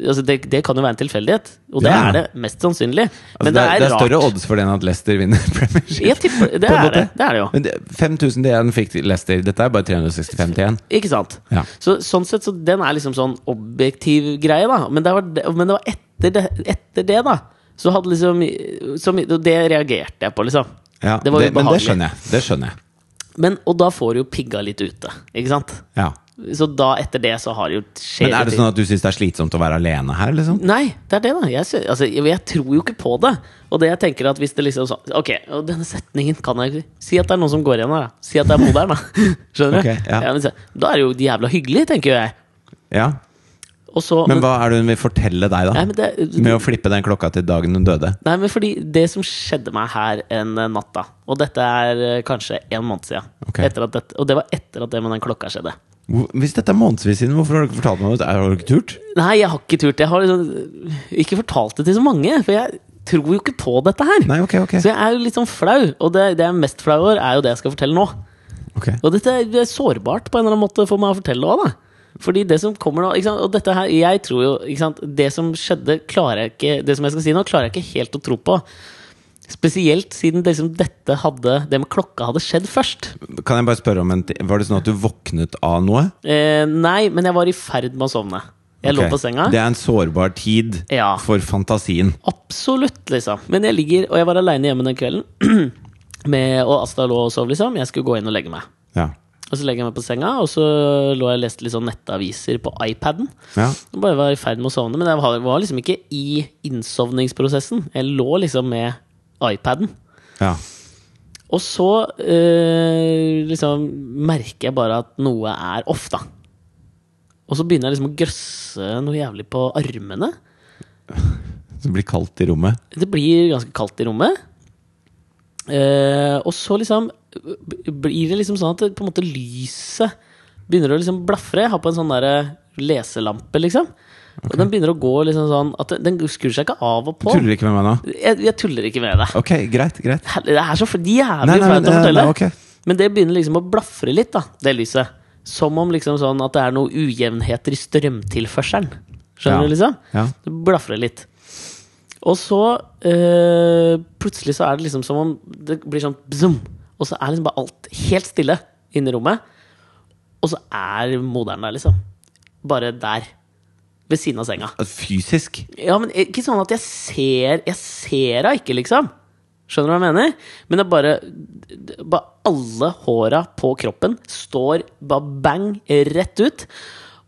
Speaker 1: altså det, det kan jo være en tilfeldighet, og det
Speaker 2: Ja.
Speaker 1: er det mest sannsynlig.
Speaker 2: Altså,
Speaker 1: Men det, er, rart.
Speaker 2: større odds for den at Leicester vinner Premier
Speaker 1: Jeg
Speaker 2: League.
Speaker 1: tipper, det,
Speaker 2: på en
Speaker 1: er
Speaker 2: måte.
Speaker 1: det. det er det jo.
Speaker 2: Men det, 5000 til 1 fikk Leicester. Dette er bare 365 til 1.
Speaker 1: Ikke sant?
Speaker 2: Ja.
Speaker 1: Så, sånn sett, så den er liksom sånn objektiv greie, da. Men det var, det- men det var etter, det, etter det, da. Så hadde liksom som, og Det reagerte jeg på, liksom.
Speaker 2: Ja,
Speaker 1: Det var
Speaker 2: men det
Speaker 1: ubehagelig.
Speaker 2: skjønner jeg. Det skjønner jeg.
Speaker 1: Men, og da får du jo pigga litt ute, ikke sant?
Speaker 2: Ja.
Speaker 1: Så da, etter det, så har det jo skjedd
Speaker 2: Men er det sånn at du syns det er slitsomt å være alene her, liksom?
Speaker 1: Nei, det er det, da. Jeg, sy- altså, jeg, jeg tror jo ikke på det. Og det jeg tenker at hvis det liksom sånn Ok, og denne setningen kan jeg ikke Si at det er noen som går igjen her, da. Si at det er moderen, da. Skjønner
Speaker 2: Ok,
Speaker 1: du?
Speaker 2: ja.
Speaker 1: men se, da er det jo jævla hyggelig, tenker jo jeg.
Speaker 2: Ja.
Speaker 1: Og så
Speaker 2: Men hva er det hun vil fortelle
Speaker 1: Nei,
Speaker 2: deg, da?
Speaker 1: men det,
Speaker 2: Med å flippe den klokka til dagen hun døde?
Speaker 1: nei, men fordi det som skjedde meg her en eh, natt, da Og dette er eh, kanskje en måned siden.
Speaker 2: Ok.
Speaker 1: Etter at dette, og det var etter at det med den klokka skjedde.
Speaker 2: Hvor- Hvis dette er månedsvis siden, hvorfor har du ikke fortalt meg det? Har du ikke turt?
Speaker 1: Nei, jeg har ikke turt. Jeg har liksom ikke fortalt det til så mange, for jeg tror jo ikke på dette her.
Speaker 2: Nei, ok, ok.
Speaker 1: Så jeg er jo litt sånn flau, og det, det jeg er mest flau over, er jo det jeg skal fortelle nå.
Speaker 2: Ok.
Speaker 1: Og dette er- det er sårbart på en eller annen måte for meg å fortelle òg, da. Fordi det som kommer nå ikke sant? Og dette her, jeg tror jo ikke sant? Det som skjedde, klarer jeg ikke Det som jeg skal si nå, klarer jeg ikke helt å tro på. Spesielt siden det, liksom, dette hadde, det med klokka hadde skjedd først.
Speaker 2: Kan jeg bare spørre om en ti- Var det sånn at du våknet av noe?
Speaker 1: Eh, nei, men jeg var i ferd med å sovne. Jeg
Speaker 2: Ok.
Speaker 1: lå på senga.
Speaker 2: Det er en sårbar tid
Speaker 1: Ja.
Speaker 2: for fantasien.
Speaker 1: Absolutt, liksom. Men jeg ligger, og jeg var aleine hjemme den kvelden. Med, og Asta lå og sov, liksom. Jeg skulle gå inn og legge meg.
Speaker 2: Ja.
Speaker 1: Og så legger jeg meg på senga, og så lå jeg og leste litt sånn nettaviser på iPaden.
Speaker 2: ja.
Speaker 1: Jeg bare var i ferd med å sovne, men jeg var- var liksom ikke i innsovningsprosessen. Jeg lå liksom med iPaden.
Speaker 2: ja.
Speaker 1: Og så eh, liksom merker jeg bare at noe er off, da. Og så begynner jeg liksom å grøsse noe jævlig på armene.
Speaker 2: Så det blir kaldt i rommet.
Speaker 1: Det blir ganske kaldt i rommet. Eh, og så liksom b- blir det liksom sånn at det, på en måte lyset begynner å liksom blafre. Jeg har på en sånn derre leselampe, liksom. Og den begynner å gå liksom sånn at den, den skrur seg ikke av og
Speaker 2: Du
Speaker 1: på.
Speaker 2: tuller ikke med meg nå?
Speaker 1: Jeg, jeg tuller ikke med det.
Speaker 2: Ok, greit. greit
Speaker 1: Hel- Det er så f-
Speaker 2: Nei,
Speaker 1: jævlig
Speaker 2: nei,
Speaker 1: flaut å
Speaker 2: men, eh,
Speaker 1: fortelle.
Speaker 2: nei, ok.
Speaker 1: Men det begynner liksom å blafre litt, da, det lyset. Som om liksom sånn at det er noen ujevnheter i strømtilførselen. Skjønner
Speaker 2: Ja.
Speaker 1: du, liksom?
Speaker 2: Ja.
Speaker 1: Det blafrer litt. Og så eh, plutselig så er det liksom som om det blir sånn bzum, og så er liksom bare alt helt stille inne i rommet. Og så er moderen der, liksom. Bare der. Ved siden av senga.
Speaker 2: Altså, Fysisk?
Speaker 1: Ja, men ikke sånn at jeg ser Jeg ser henne ikke, liksom. Skjønner du hva jeg mener? Men det er bare, det- bare Alle håra på kroppen står bare bang rett ut.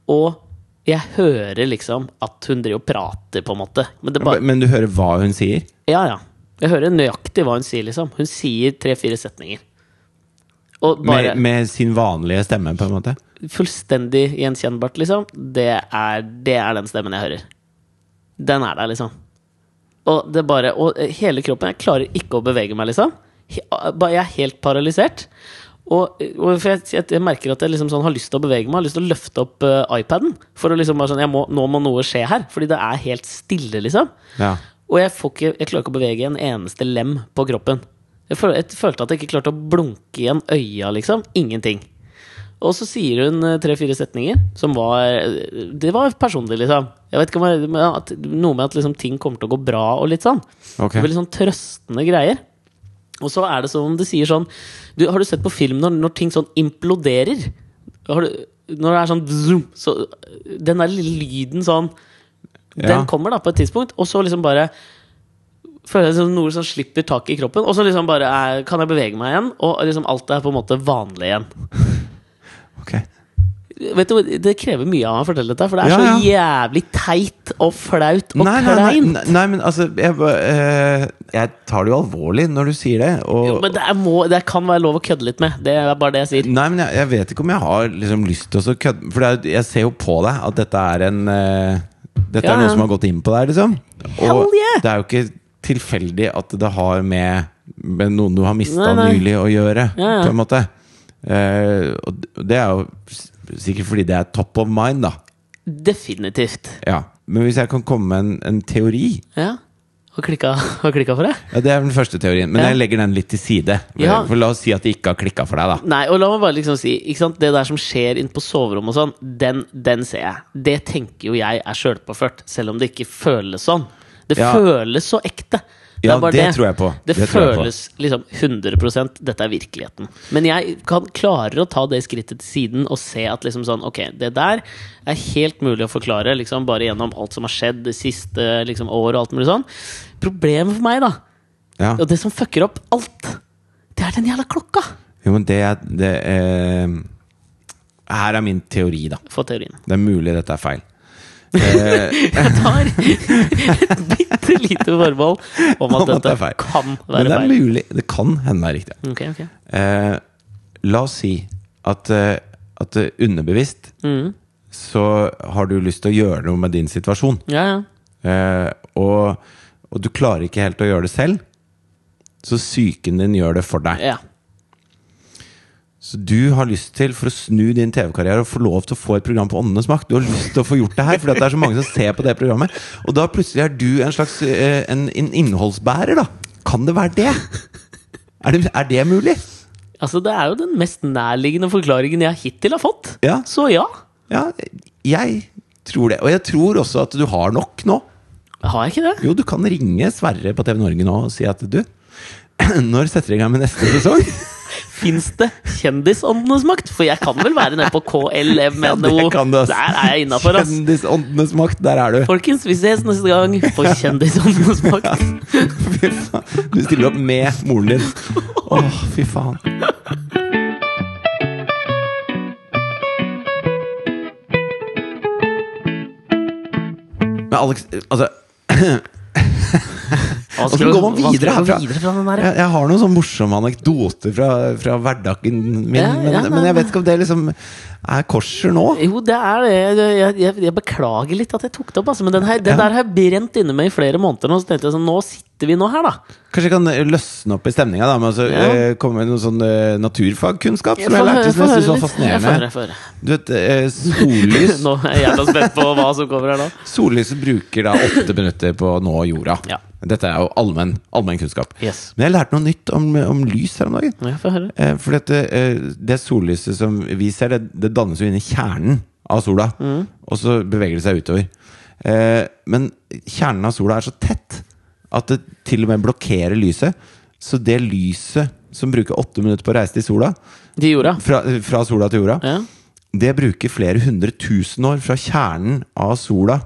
Speaker 1: Og jeg hører liksom at hun driver og prater, på en måte. Men det er bare
Speaker 2: Men du hører hva hun sier?
Speaker 1: Ja, ja. Jeg hører nøyaktig hva hun sier, liksom. Hun sier tre-fire setninger. Og bare
Speaker 2: Med, med sin vanlige stemme, på en måte?
Speaker 1: fullstendig gjenkjennbart, liksom, det er, det er den stemmen jeg hører. Den er der, liksom. Og det er bare Og hele kroppen Jeg klarer ikke å bevege meg, liksom. He- bare- Jeg er helt paralysert. Og, og for jeg, jeg, jeg merker at jeg liksom sånn har lyst til å bevege meg, har lyst til å løfte opp eh, iPaden. For å liksom bare sånn jeg må, Nå må noe skje her. Fordi det er helt stille, liksom.
Speaker 2: Ja.
Speaker 1: Og jeg, får ikke, jeg klarer ikke å bevege en eneste lem på kroppen. Jeg, føl, jeg følte at jeg ikke klarte å blunke igjen øya, liksom. Ingenting. Og så sier hun eh, tre-fire setninger som var eh, Det var personlig, liksom. Jeg vet ikke om jeg, men at, Noe med at liksom, ting kommer til å gå bra og litt sånn.
Speaker 2: Ok.
Speaker 1: Veldig sånn trøstende greier. Og så er det som om det sier sånn du, Har du sett på film når, når ting sånn imploderer? Har du, når det er sånn zoom, så, Den der lille lyden sånn
Speaker 2: Ja.
Speaker 1: Den kommer da på et tidspunkt, og så liksom bare Føler jeg som noe som slipper taket i kroppen, og så liksom bare er, kan jeg bevege meg igjen, og liksom alt er på en måte vanlig igjen. sånn
Speaker 2: Ok.
Speaker 1: Vet du, hva, Det krever mye av meg å fortelle dette, for det er
Speaker 2: Ja,
Speaker 1: så jævlig teit og flaut og
Speaker 2: Nei, nei, nei,
Speaker 1: kleint.
Speaker 2: nei, nei, men altså jeg, ba- eh, jeg tar det jo alvorlig når du sier det. Og,
Speaker 1: Jo, men det, er, må, det kan være lov å kødde litt med. Det er bare det jeg sier.
Speaker 2: Nei, men jeg, jeg vet ikke om jeg har liksom lyst til å så kødde For det er, jeg ser jo på deg at dette er en eh, Dette
Speaker 1: Ja,
Speaker 2: er noe
Speaker 1: ja.
Speaker 2: som har gått inn på deg, liksom.
Speaker 1: Hell
Speaker 2: Og
Speaker 1: yeah!
Speaker 2: det er jo ikke tilfeldig at det har med, med noen du har mista
Speaker 1: Nei, nei.
Speaker 2: nylig å gjøre,
Speaker 1: Ja, ja.
Speaker 2: på en måte. Eh, og d- og det er jo s- sikkert fordi det er top of mind, da.
Speaker 1: Definitivt.
Speaker 2: Ja. Men hvis jeg kan komme med en, en teori
Speaker 1: Ja. Har klikka, har klikka for deg?
Speaker 2: ja, Det er den første teorien, men
Speaker 1: Ja.
Speaker 2: jeg legger den litt til side.
Speaker 1: Ja.
Speaker 2: For La oss si at det ikke har klikka for deg, da.
Speaker 1: Nei, og la meg bare liksom si ikke sant? Det der som skjer inne på soverommet og sånn, den, den ser jeg. Det tenker jo jeg er sjølpåført, selv om det ikke føles sånn. Det
Speaker 2: Ja.
Speaker 1: føles så ekte. Det
Speaker 2: Ja,
Speaker 1: er bare
Speaker 2: det tror jeg på.
Speaker 1: Det,
Speaker 2: Det tror jeg på.
Speaker 1: føles liksom 100 Dette er virkeligheten. Men jeg kan klarer å ta det skrittet til siden og se at liksom sånn Ok, det der er helt mulig å forklare liksom bare gjennom alt som har skjedd det siste liksom, året og alt mulig sånn. Problemet for meg, da,
Speaker 2: Ja.
Speaker 1: og det som fucker opp alt, det er den jævla klokka!
Speaker 2: Jo, men det, er- det eh, Her er min teori, da.
Speaker 1: Få teorien.
Speaker 2: Det er mulig dette er feil.
Speaker 1: Jeg tar et bitte lite forbehold om at
Speaker 2: Om at det
Speaker 1: dette
Speaker 2: er feil.
Speaker 1: kan
Speaker 2: Men
Speaker 1: være
Speaker 2: det er
Speaker 1: feil.
Speaker 2: mulig. Det kan hende det er riktig.
Speaker 1: Ok, ok.
Speaker 2: Eh, la oss si at, eh, at eh, underbevisst så har du lyst til å gjøre noe med din situasjon.
Speaker 1: Ja, ja.
Speaker 2: Eh, og, og du klarer ikke helt å gjøre det selv, så psyken din gjør det for deg.
Speaker 1: ja.
Speaker 2: Så du har lyst til, for å snu din TV-karriere og få lov til å få et program på Åndenes makt Du har lyst til å få gjort det her, fordi at det er så mange som ser på det programmet. Og da plutselig er du en slags eh, en, en innholdsbærer, da. Kan det være det? Er det, er det mulig?
Speaker 1: Altså, det er jo den mest nærliggende forklaringen jeg hittil har fått.
Speaker 2: Ja.
Speaker 1: Så ja.
Speaker 2: Ja, jeg tror det. Og jeg tror også at du har nok nå.
Speaker 1: Har jeg ikke det?
Speaker 2: Jo, du kan ringe Sverre på TV Norge nå og si at du Når setter dere i gang med neste sesong?
Speaker 1: Fins det kjendisåndenes makt? For jeg kan vel være nede på KLM
Speaker 2: Ja, det
Speaker 1: NHO.
Speaker 2: kan du, ass.
Speaker 1: Der er jeg innafor, ass.
Speaker 2: Kjendisåndenes makt, der er du.
Speaker 1: Folkens, vi ses neste gang på Kjendisåndenes makt.
Speaker 2: Fy faen. Du stiller opp med moren din. Åh, fy faen. Men Alex, altså
Speaker 1: Hva
Speaker 2: Hvordan går man
Speaker 1: hva
Speaker 2: videre
Speaker 1: skal vi
Speaker 2: herfra?
Speaker 1: gå videre fra den der?
Speaker 2: Jeg, jeg har noen sånne morsomme anekdoter fra, fra hverdagen min,
Speaker 1: Ja,
Speaker 2: men,
Speaker 1: ja, nei,
Speaker 2: men jeg
Speaker 1: nei.
Speaker 2: vet ikke om det liksom er korser nå.
Speaker 1: Jo, det er det. Jeg, jeg, jeg beklager litt at jeg tok det opp, altså. Men den, her, den
Speaker 2: Ja.
Speaker 1: der har jeg brent inne med i flere måneder nå. Så tenkte jeg sånn, nå sitter vi nå her, da.
Speaker 2: Kanskje jeg kan løsne opp i stemninga da, med å så,
Speaker 1: Ja.
Speaker 2: eh, komme med noe sånn eh, naturfagkunnskap som jeg
Speaker 1: Få høre-
Speaker 2: lærte,
Speaker 1: få
Speaker 2: som jeg
Speaker 1: høre
Speaker 2: synes var
Speaker 1: litt. Ja, få høre,
Speaker 2: fascinerende.
Speaker 1: få høre.
Speaker 2: Du vet, eh, sollys
Speaker 1: Nå er jeg jævla spent på hva som kommer her nå.
Speaker 2: Sollyset bruker da åtte minutter på å nå jorda.
Speaker 1: Ja.
Speaker 2: Dette er jo allmenn allmenn kunnskap.
Speaker 1: Yes.
Speaker 2: Men jeg lærte noe nytt om, om lys her om dagen.
Speaker 1: Ja, få høre.
Speaker 2: Eh, For det, det sollyset som vi ser, det, det dannes jo inni kjernen av sola.
Speaker 1: Mm.
Speaker 2: Og så beveger det seg utover. Eh, Men kjernen av sola er så tett at det til og med blokkerer lyset. Så det lyset som bruker åtte minutter på å reise til sola,
Speaker 1: De jorda.
Speaker 2: fra, fra sola til jorda,
Speaker 1: Ja.
Speaker 2: det bruker flere hundre tusen år fra kjernen av sola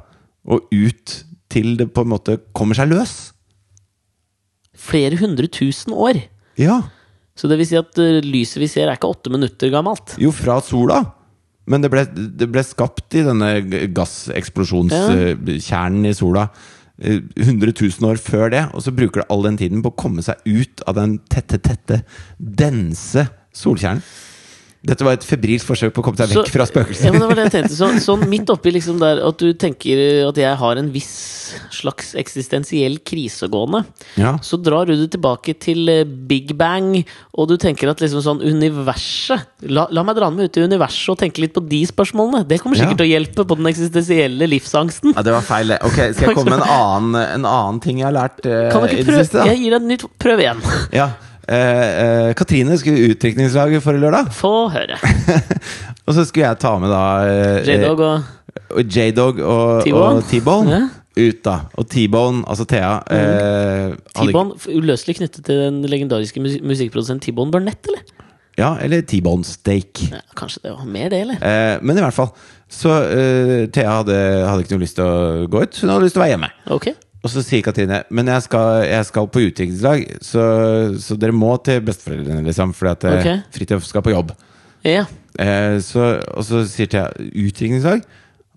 Speaker 2: og ut til det på en måte kommer seg løs.
Speaker 1: Flere hundre tusen år.
Speaker 2: Ja,
Speaker 1: Så det vil si at eh, lyset vi ser, er ikke åtte minutter gammelt.
Speaker 2: jo fra sola. Men det ble, det ble skapt i denne g- gasseksplosjonskjernen i sola eh, 100 000 år før det, og så bruker det all den tiden på å komme seg ut av den tette, tette, dense solkjernen. Dette var et febrilsk forsøk på å komme seg
Speaker 1: Så-
Speaker 2: vekk fra
Speaker 1: Ja, men
Speaker 2: spøkelser.
Speaker 1: det var det jeg tenkte. Så, sånn midt oppi liksom der at du tenker eh, at jeg har en viss slags eksistensiell krise gående,
Speaker 2: Ja.
Speaker 1: så drar du det tilbake til eh, Big Bang, og du tenker at liksom sånn universet La, la meg dra med ut i universet og tenke litt på de spørsmålene. Det kommer sikkert til
Speaker 2: Ja.
Speaker 1: å hjelpe på den eksistensielle livsangsten.
Speaker 2: Ja, det var feil. det. Ok, Skal jeg komme med en annen, en annen ting jeg har lært eh,
Speaker 1: Kan du
Speaker 2: i
Speaker 1: ikke
Speaker 2: det siste?
Speaker 1: prøve?
Speaker 2: da?
Speaker 1: Jeg gir deg et nytt prøv igjen.
Speaker 2: Ja. Eh, eh, Katrine skulle i utdrikningslaget forrige lørdag.
Speaker 1: Få høre.
Speaker 2: Og så skulle jeg ta med da eh,
Speaker 1: J-Dog og
Speaker 2: eh, og J-Dog og
Speaker 1: T-Bone.
Speaker 2: og T-Bone
Speaker 1: Ja. Mm.
Speaker 2: ut, da. Og T-Bone, altså Thea eh, hadde-
Speaker 1: T-Bone, f- uløselig knyttet til den legendariske mus musikkprodusenten T-Bone Burnett, eller?
Speaker 2: Ja, eller T-Bone Steak.
Speaker 1: Ja, kanskje det var mer det, eller?
Speaker 2: Eh, men i hvert fall. Så eh, Thea hadde, hadde ikke noe lyst til å gå ut. Hun hadde lyst til å være hjemme.
Speaker 1: Ok.
Speaker 2: Og så sier Katrine Men jeg skal, jeg skal på utdrikningslag, så, så dere må til besteforeldrene, liksom. Fordi at okay.
Speaker 1: Ok.
Speaker 2: Fridtjof skal på jobb.
Speaker 1: Ja.
Speaker 2: Eh, så, og så sier Thea utdrikningslag.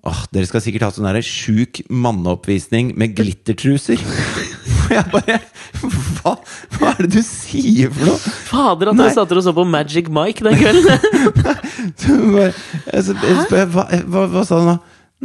Speaker 2: Åh, dere skal sikkert ha sånn der sjuk manneoppvisning med glittertruser. Og jeg bare hva, hva er det du sier for noe?!
Speaker 1: Fader, at
Speaker 2: Nei.
Speaker 1: dere satt dere og så på Magic Mike den kvelden!
Speaker 2: Så hun bare, jeg så- jeg spør, hva, eh, hva, hva sa du nå?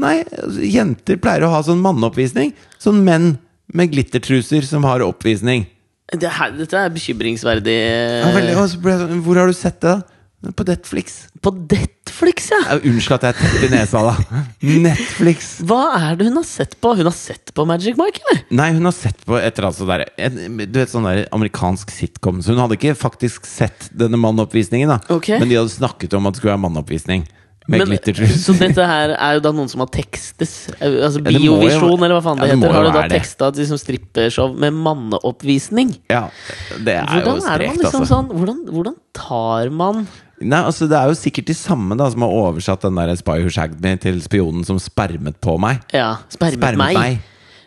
Speaker 2: Nei, altså, jenter pleier å ha sånn manneoppvisning. Sånn menn med glittertruser som har oppvisning.
Speaker 1: det her, dette er bekymringsverdig.
Speaker 2: Ja, veldig, og så ble jeg sånn, Hvor har du sett det, da? På Netflix.
Speaker 1: På Netflix, ja!
Speaker 2: Ja, Unnskyld at jeg er tett i nesa, da. Netflix.
Speaker 1: Hva er det hun har sett på? Hun har sett på Magic Mike, eller?
Speaker 2: Nei, hun har sett på et eller annet sånt der, en, Du vet sånn der amerikansk sitcom. Så hun hadde ikke faktisk sett denne mannoppvisningen, da.
Speaker 1: Ok.
Speaker 2: Men de hadde snakket om at det skulle være mannoppvisning. Med
Speaker 1: Men- eh,
Speaker 2: glittertrus.
Speaker 1: Så dette her er jo da noen som har tekstes? eh, Altså
Speaker 2: Ja, det må jo-
Speaker 1: Biovisjon, eller hva faen det
Speaker 2: Ja, det må
Speaker 1: heter? Har
Speaker 2: jo
Speaker 1: du da
Speaker 2: være det.
Speaker 1: teksta liksom, strippeshow med manneoppvisning?
Speaker 2: Ja, det er
Speaker 1: Hvordan
Speaker 2: jo
Speaker 1: er det
Speaker 2: sprekt,
Speaker 1: man liksom
Speaker 2: altså.
Speaker 1: sånn Hvordan, hvordan tar man
Speaker 2: Nei, altså Det er jo sikkert de samme da som har oversatt den der Spy Who Shagged Me til spionen som spermet på meg.
Speaker 1: Ja, spermet,
Speaker 2: Spermet meg.
Speaker 1: meg.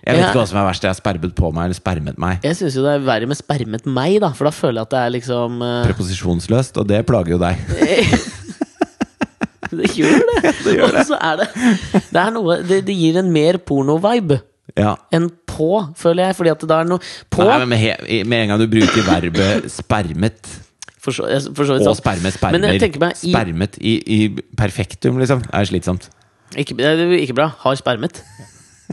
Speaker 2: Jeg vet
Speaker 1: Ja.
Speaker 2: ikke hva som er verst. Jeg har spermet på meg eller spermet meg.
Speaker 1: Jeg syns jo det er verre med spermet meg, da, for da føler jeg at det er liksom eh,
Speaker 2: Preposisjonsløst, og det plager jo deg.
Speaker 1: Det gjør det!
Speaker 2: Det gjør det.
Speaker 1: Og så er det Det er noe Det, det gir en mer porno-vibe
Speaker 2: Ja.
Speaker 1: enn på, føler jeg. Fordi at det da er noe På
Speaker 2: Nei, men med, he- med en gang du bruker verbet 'spermet'
Speaker 1: for så, jeg- for så vidt sånn
Speaker 2: og
Speaker 1: sant.
Speaker 2: 'sperme
Speaker 1: Men jeg tenker
Speaker 2: spermer'
Speaker 1: meg i,
Speaker 2: Spermet i, i perfektum, liksom, er slitsomt.
Speaker 1: ikke, nei, det er ikke bra. Har spermet.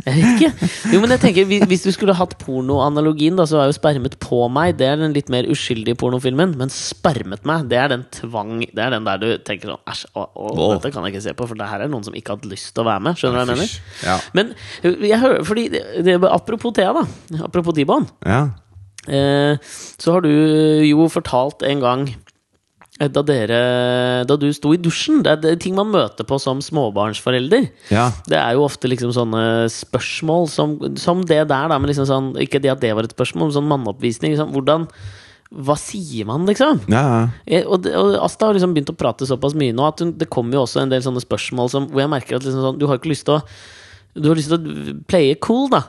Speaker 1: Jeg vet ikke. Jo, men jeg tenker hvi- Hvis du skulle hatt pornoanalogien, da, så er jo 'spermet på meg' Det er den litt mer uskyldige pornofilmen. Men 'spermet meg' det er den tvang Det er den der du tenker sånn Æsj, å, å,
Speaker 2: Åh.
Speaker 1: dette kan jeg ikke se på, for det her er noen som ikke har hatt lyst til å være med. Skjønner du hva jeg mener?
Speaker 2: Ja.
Speaker 1: Men jeg hører, fordi det, det, apropos Thea, da. Apropos T-Bone.
Speaker 2: ja.
Speaker 1: Eh, så har du eh, jo fortalt en gang eh, da dere Da du sto i dusjen. Det er det, er ting man møter på som småbarnsforelder.
Speaker 2: Ja.
Speaker 1: Det er jo ofte liksom sånne spørsmål som, som det der, da. Men liksom sånn, ikke det at det var et spørsmål, men sånn manneoppvisning. Liksom, hvordan Hva sier man, liksom?
Speaker 2: ja, ja.
Speaker 1: Eh, Og, det- og Asta har liksom begynt å prate såpass mye nå at hun, det kommer jo også en del sånne spørsmål som, hvor jeg merker at liksom sånn, du har ikke lyst til å Du har lyst til å playe cool, da.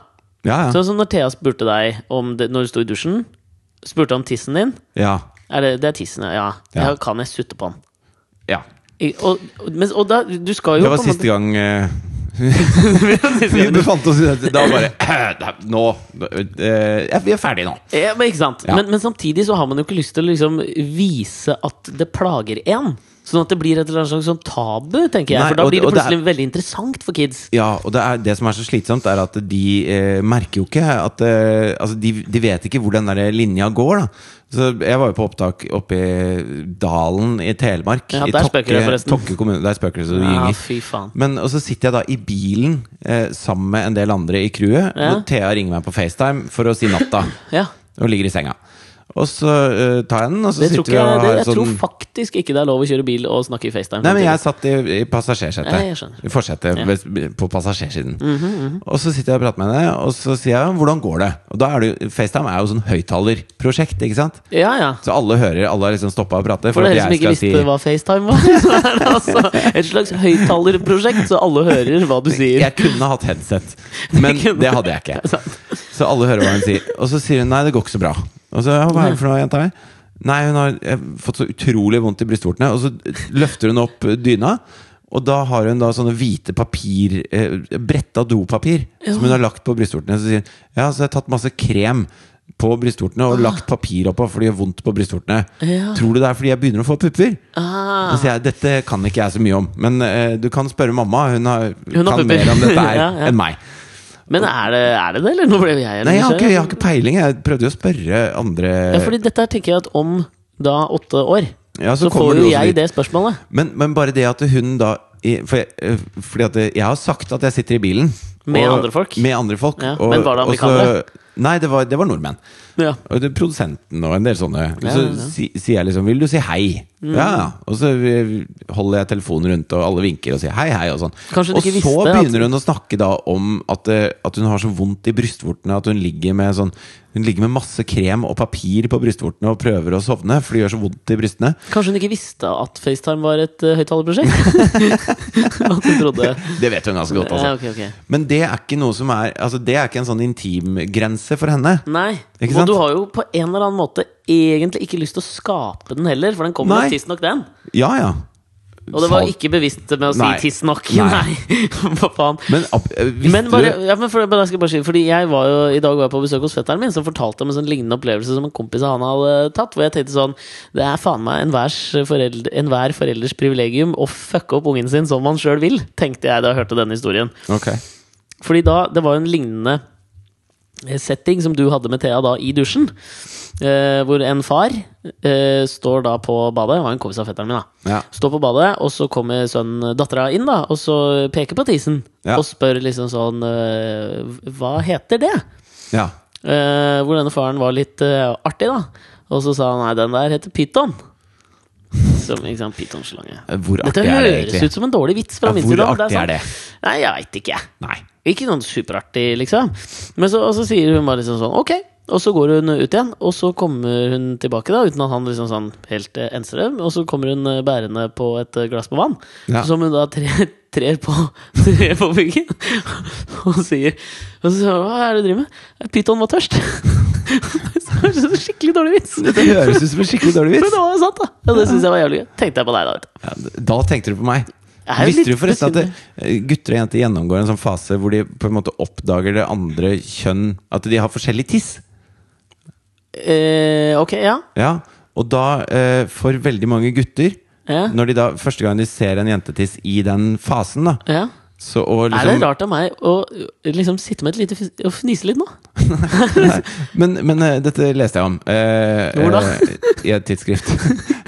Speaker 2: ja, ja.
Speaker 1: Sånn som når Thea spurte deg om det, når du sto i dusjen. Spurte om tissen din.
Speaker 2: ja.
Speaker 1: Er det, det er tissen, ja. ja.
Speaker 2: Ja.
Speaker 1: Ja, Kan jeg sutte på den?
Speaker 2: ja.
Speaker 1: I- Og, og, men, og da, du skal jo
Speaker 2: Det var
Speaker 1: på en
Speaker 2: siste gang eh,
Speaker 1: måte-
Speaker 2: vi befant oss i dette. Da bare da- Nå eh, ja, Vi er ferdige nå.
Speaker 1: Ja, men, ikke sant?
Speaker 2: Ja.
Speaker 1: Men, men samtidig så har man jo ikke lyst til å liksom vise at det plager en. Sånn at det blir et eller annet slags sånn tabu, tenker jeg.
Speaker 2: Nei,
Speaker 1: for da
Speaker 2: og-
Speaker 1: blir det
Speaker 2: og det er-
Speaker 1: plutselig veldig interessant for kids.
Speaker 2: Ja, og det, er, det som er så slitsomt, er at de eh, merker jo ikke at eh, Altså, de, de vet ikke hvor den der linja går, da. Så jeg var jo på opptak oppe i Dalen i Telemark.
Speaker 1: Ja,
Speaker 2: i
Speaker 1: der
Speaker 2: Tokke-
Speaker 1: spøker det forresten.
Speaker 2: Tokke kommune. Der spøker det så det
Speaker 1: Ja,
Speaker 2: gynger.
Speaker 1: fy faen.
Speaker 2: Men og så sitter jeg da i bilen eh, sammen med en del andre i crewet,
Speaker 1: Ja.
Speaker 2: og Thea ringer meg på FaceTime for å si natta.
Speaker 1: Ja,
Speaker 2: og ligger i senga. Og så eh, tar jeg den, og så
Speaker 1: det tror
Speaker 2: sitter
Speaker 1: ikke
Speaker 2: vi og
Speaker 1: jeg, det,
Speaker 2: har
Speaker 1: jeg
Speaker 2: sånn
Speaker 1: tror faktisk ikke det er lov å kjøre bil og snakke i FaceTime.
Speaker 2: Nei, men jeg
Speaker 1: samtidig.
Speaker 2: satt i, i passasjersetet.
Speaker 1: Ja, Mhm, jeg skjønner.
Speaker 2: I forsetet ved- på passasjersiden. Og så sitter jeg og prater med henne, og så sier jeg 'hvordan går det?' Og da er det jo, FaceTime er jo sånn høyttalerprosjekt, ikke sant?
Speaker 1: Ja, ja.
Speaker 2: Så alle hører, alle har liksom stoppa å prate.
Speaker 1: For
Speaker 2: at
Speaker 1: dere som
Speaker 2: jeg
Speaker 1: ikke
Speaker 2: skal si-
Speaker 1: visste hva FaceTime var, så er det altså et slags høyttalerprosjekt, så alle hører hva du sier.
Speaker 2: Jeg kunne hatt headset, men
Speaker 1: kunne-
Speaker 2: det hadde jeg ikke.
Speaker 1: Det er sant.
Speaker 2: Så alle hører hva hun sier. Og så sier hun nei, det går ikke så bra. Og så, ja, hva er det for noe, jenta her? Nei, hun har eh, fått så utrolig vondt i brystvortene. Og så løfter hun opp eh, dyna, og da har hun da sånne hvite papir eh, Bretta dopapir som hun har lagt på brystvortene. Så sier hun ja, så jeg har tatt masse krem på brystvortene og lagt papir oppå fordi det gjør vondt på brystvortene.
Speaker 1: Ah. Ja.
Speaker 2: Tror du det er fordi jeg begynner å få pupper?
Speaker 1: Ah.
Speaker 2: Da sier jeg, dette kan ikke jeg så mye om, men eh, du kan spørre mamma. Hun, har,
Speaker 1: Hun har
Speaker 2: kan
Speaker 1: pupper.
Speaker 2: mer om dette her
Speaker 1: Ja, ja.
Speaker 2: enn meg.
Speaker 1: Men er det, er det det, eller? Nå ble jeg
Speaker 2: Nei, jeg har, ikke, jeg har ikke peiling. Jeg prøvde jo å spørre andre
Speaker 1: Ja, fordi dette her tenker jeg at om da åtte år,
Speaker 2: Ja, så
Speaker 1: så, får
Speaker 2: kommer du
Speaker 1: jo
Speaker 2: også
Speaker 1: jeg
Speaker 2: dit.
Speaker 1: det spørsmålet.
Speaker 2: men, men bare det at hun da i- for jeg, eh, Fordi at jeg har sagt at jeg sitter i bilen.
Speaker 1: Med andre folk?
Speaker 2: Med andre folk
Speaker 1: Ja, men var det
Speaker 2: og så-
Speaker 1: amerikanere?
Speaker 2: Nei, det var, det var nordmenn.
Speaker 1: Ja.
Speaker 2: Og det, produsenten og en del sånne.
Speaker 1: Ja,
Speaker 2: så
Speaker 1: ja, Mm. ja.
Speaker 2: si- sier jeg liksom 'Vil du si hei?' Ja, ja. Og så eh, holder jeg telefonen rundt, og alle vinker og sier 'hei, hei' og sånn.
Speaker 1: Kanskje du
Speaker 2: og
Speaker 1: ikke
Speaker 2: så
Speaker 1: visste at-
Speaker 2: begynner hun å snakke da om at, eh, at hun har så vondt i brystvortene at hun ligger med sånn hun ligger med masse krem og papir på brystvortene og prøver å sovne, for det gjør så vondt i brystene.
Speaker 1: Kanskje hun ikke visste at FaceTime var et uh, høyttalerprosjekt? at hun trodde
Speaker 2: Det vet hun ganske godt, altså.
Speaker 1: Ja, ok, ok.
Speaker 2: Men det er ikke noe som er Altså det er ikke en sånn intimgrense for henne.
Speaker 1: Nei.
Speaker 2: Ikke
Speaker 1: Og
Speaker 2: sant?
Speaker 1: du har jo på en eller annen måte egentlig ikke lyst til å skape den heller, for den kommer
Speaker 2: Nei.
Speaker 1: nok tidsnok, den.
Speaker 2: Ja, ja.
Speaker 1: Og det var
Speaker 2: Sal-
Speaker 1: ikke bevisst med å si
Speaker 2: Nei.
Speaker 1: tidsnok.
Speaker 2: Nei.
Speaker 1: Nei. Hva faen.
Speaker 2: Men ap- eh, visste
Speaker 1: Men bare,
Speaker 2: du
Speaker 1: ja, men for, bare, jeg skal bare si, fordi jeg var jo, I dag var jeg på besøk hos fetteren min, som fortalte om en sånn lignende opplevelse som en kompis av han hadde tatt. Hvor jeg tenkte sånn Det er faen meg enhver foreldre, enhver forelders privilegium å fucke opp ungen sin som man sjøl vil, tenkte jeg da jeg hørte denne historien.
Speaker 2: Ok.
Speaker 1: Fordi da, det var jo en lignende eh, setting som du hadde med Thea da i dusjen. Eh, hvor en far eh, står da på badet, det var en kompis av fetteren min, da.
Speaker 2: Ja.
Speaker 1: Står på badet, og så kommer sønnen dattera inn, da, og så peker på tisen.
Speaker 2: Ja.
Speaker 1: Og spør liksom sånn eh, Hva heter det?
Speaker 2: ja.
Speaker 1: Eh, hvor denne faren var litt eh, artig, da. Og så sa han nei, den der heter pyton. Som ikke sant, pytonslange.
Speaker 2: Eh, Hvor
Speaker 1: Dette
Speaker 2: artig er det
Speaker 1: høres
Speaker 2: egentlig?
Speaker 1: ut som en dårlig vits fra
Speaker 2: Ja,
Speaker 1: min
Speaker 2: hvor
Speaker 1: side. men
Speaker 2: artig er det?
Speaker 1: sånn- Nei, jeg veit ikke, jeg.
Speaker 2: Nei.
Speaker 1: Ikke noen superartig, liksom. Men så, og så sier hun bare liksom sånn ok. Og så går hun ut igjen, og så kommer hun tilbake, da uten at han liksom sånn helt eh, enser det. Og så kommer hun eh, bærende på et eh, glass med vann,
Speaker 2: Ja.
Speaker 1: som hun da trer, trer på Trer på veggen og sier Og så sier hun hva er det du driver med? Pyton var tørst. så er det så skikkelig dårlig vits.
Speaker 2: Dette høres ut som en skikkelig dårlig
Speaker 1: Men det
Speaker 2: vits.
Speaker 1: var jo sant, da. Og det syns jeg var jævlig gøy. Tenkte jeg på deg da, vet du.
Speaker 2: Ja, da tenkte du på meg.
Speaker 1: Jeg er jo
Speaker 2: Visste du
Speaker 1: litt
Speaker 2: forresten at det, gutter og jenter gjennomgår en sånn fase hvor de på en måte oppdager det andre kjønn At de har forskjellig tiss?
Speaker 1: Eh, ok, ja.
Speaker 2: Ja, og da eh, for veldig mange gutter
Speaker 1: Ja.
Speaker 2: Når de da første gang de ser en jentetiss i den fasen da
Speaker 1: ja.
Speaker 2: så, og
Speaker 1: Er det
Speaker 2: liksom,
Speaker 1: rart av meg å liksom sitte med et lite fis- og fnise litt nå?
Speaker 2: Men, men eh, dette leste jeg om eh,
Speaker 1: Hvor da?
Speaker 2: eh, I et tidsskrift